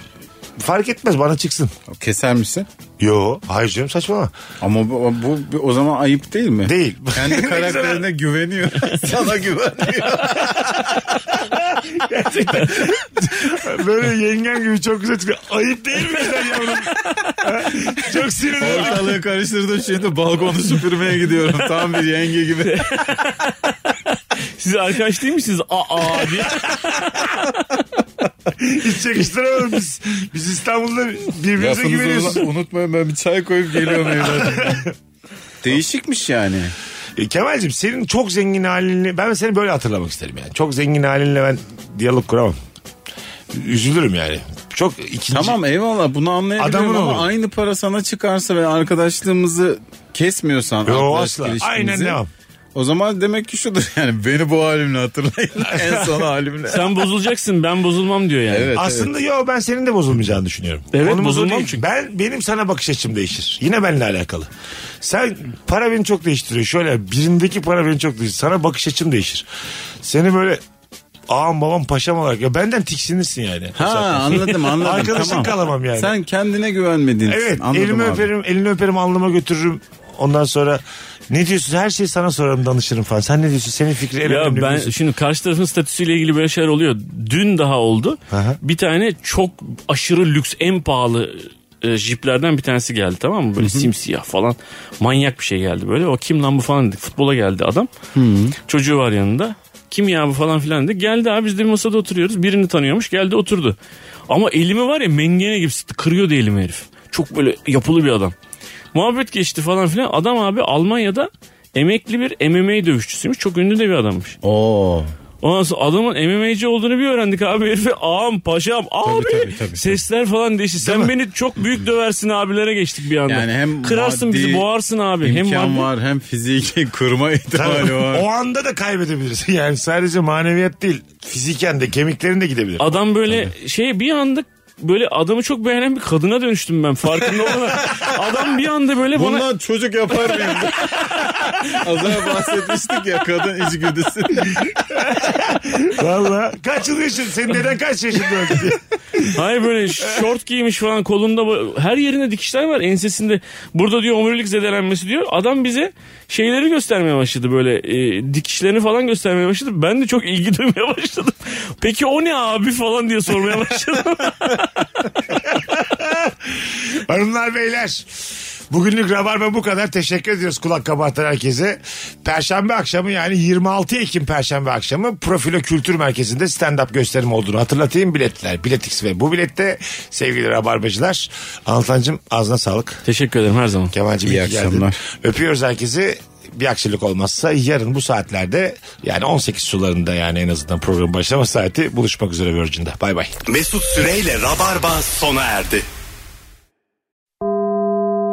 Speaker 3: Fark etmez bana çıksın.
Speaker 4: Keser misin?
Speaker 3: Yo hayır canım saçmalama.
Speaker 4: Ama bu, bu, bu o zaman ayıp değil mi?
Speaker 3: Değil. Ne
Speaker 4: Kendi
Speaker 3: güzel.
Speaker 4: karakterine güveniyor. Sana güveniyor.
Speaker 3: Böyle yengen gibi çok güzel çıkıyor. Ayıp değil mi sen yavrum? Ha? çok sinirli.
Speaker 4: Ortalığı karıştırdım şimdi balkonu süpürmeye gidiyorum. Tam bir yenge gibi.
Speaker 5: Siz arkadaş değil misiniz? Aa diye.
Speaker 3: Hiç çekiştiremedim biz. Biz İstanbul'da birbirimize güveniyoruz.
Speaker 4: ulan- unutmayın ben bir çay koyup geliyorum evladım. Değişikmiş yani.
Speaker 3: E, Kemal'cim senin çok zengin halini ben seni böyle hatırlamak isterim yani. Çok zengin halinle ben diyalog kuramam. Üzülürüm yani. Çok ikinci.
Speaker 4: Tamam eyvallah bunu anlayabiliyorum
Speaker 3: Adamın
Speaker 4: ama
Speaker 3: olur.
Speaker 4: aynı para sana çıkarsa ve arkadaşlığımızı kesmiyorsan
Speaker 3: Yo,
Speaker 4: arkadaşlık
Speaker 3: asla.
Speaker 4: ilişkimizi,
Speaker 3: Aynen devam.
Speaker 4: O zaman demek ki şudur yani beni bu halimle hatırlayın en son halimle.
Speaker 5: Sen bozulacaksın ben bozulmam diyor yani.
Speaker 4: Evet, evet.
Speaker 3: Aslında yo ben senin de bozulmayacağını düşünüyorum.
Speaker 5: Evet,
Speaker 3: Konumuz o
Speaker 5: bozulmam
Speaker 3: değil.
Speaker 5: çünkü.
Speaker 3: Ben benim sana bakış açım değişir. Yine benimle alakalı. Sen para beni çok değiştiriyor. Şöyle birindeki para beni çok değiştiriyor. Sana bakış açım değişir. Seni böyle ağam babam paşam olarak ya benden tiksinirsin yani.
Speaker 4: Ha anladım anladım.
Speaker 3: Arkadaşın
Speaker 4: tamam.
Speaker 3: kalamam yani.
Speaker 4: Sen kendine güvenmediğin için,
Speaker 3: Evet
Speaker 4: anladım
Speaker 3: elimi
Speaker 4: abi.
Speaker 3: öperim elini öperim alnıma götürürüm. Ondan sonra ne diyorsun her şeyi sana sorarım danışırım falan. Sen ne diyorsun? Senin fikri en
Speaker 5: Ya
Speaker 3: önemli
Speaker 5: ben
Speaker 3: biliyorsun.
Speaker 5: şimdi karşı tarafın statüsüyle ilgili böyle şeyler oluyor. Dün daha oldu.
Speaker 3: Aha.
Speaker 5: Bir tane çok aşırı lüks en pahalı e, jiplerden bir tanesi geldi tamam mı? Böyle simsiyah falan manyak bir şey geldi böyle. O kim lan bu falan dedik. Futbola geldi adam. Çocuğu var yanında. Kim ya bu falan filan dedi. Geldi abi biz de bir masada oturuyoruz. Birini tanıyormuş geldi oturdu. Ama elimi var ya mengene gibi sıktı. Kırıyordu elimi herif. Çok böyle yapılı bir adam. Muhabbet geçti falan filan. Adam abi Almanya'da emekli bir MMA dövüşçüsüymüş. Çok ünlü de bir adammış.
Speaker 4: Oo.
Speaker 5: Ondan sonra adamın MMA'ci olduğunu bir öğrendik abi. Herife ağam paşam abi
Speaker 4: tabii, tabii,
Speaker 5: sesler falan değişti. Sen beni çok büyük döversin abilere geçtik bir anda.
Speaker 4: Yani hem
Speaker 5: Kırarsın
Speaker 4: maddi
Speaker 5: bizi boğarsın abi. Hem
Speaker 4: İmkan
Speaker 5: maddi-
Speaker 4: var hem fiziki kurma
Speaker 3: Tabii,
Speaker 4: ihtimali var.
Speaker 3: o anda da kaybedebilirsin. Yani sadece maneviyat değil. Fiziken de kemiklerin de gidebilir.
Speaker 5: Adam böyle şey bir anda böyle adamı çok beğenen bir kadına dönüştüm ben farkında olmadan. Adam bir anda böyle bana
Speaker 4: Bundan çocuk yapar mıyım? Az önce bahsetmiştik ya kadın içgüdüsü.
Speaker 3: Valla. Kaç yıl yaşın? Senin neden kaç yaşında öldü diye.
Speaker 5: hayır böyle şort giymiş falan kolunda bu- her yerinde dikişler var ensesinde. Burada diyor omurilik zedelenmesi diyor. Adam bize şeyleri göstermeye başladı böyle e, dikişlerini falan göstermeye başladı. Ben de çok ilgi duymaya başladım. Peki o ne abi falan diye sormaya başladım.
Speaker 3: Hanımlar beyler. Bugünlük Rabarba bu kadar. Teşekkür ediyoruz kulak kabartan herkese. Perşembe akşamı yani 26 Ekim Perşembe akşamı Profilo Kültür Merkezi'nde stand-up gösterim olduğunu hatırlatayım. Biletler, biletix ve bu bilette sevgili Rabarbacılar. Anlatancım ağzına sağlık.
Speaker 5: Teşekkür ederim her zaman.
Speaker 3: Kemal'cim
Speaker 4: İyi
Speaker 3: iyi, ki geldin.
Speaker 4: akşamlar.
Speaker 3: Öpüyoruz herkesi. Bir aksilik olmazsa yarın bu saatlerde yani 18 sularında yani en azından programın başlama saati buluşmak üzere Virgin'de. Bay bay.
Speaker 2: Mesut Süreyle Rabarba sona erdi.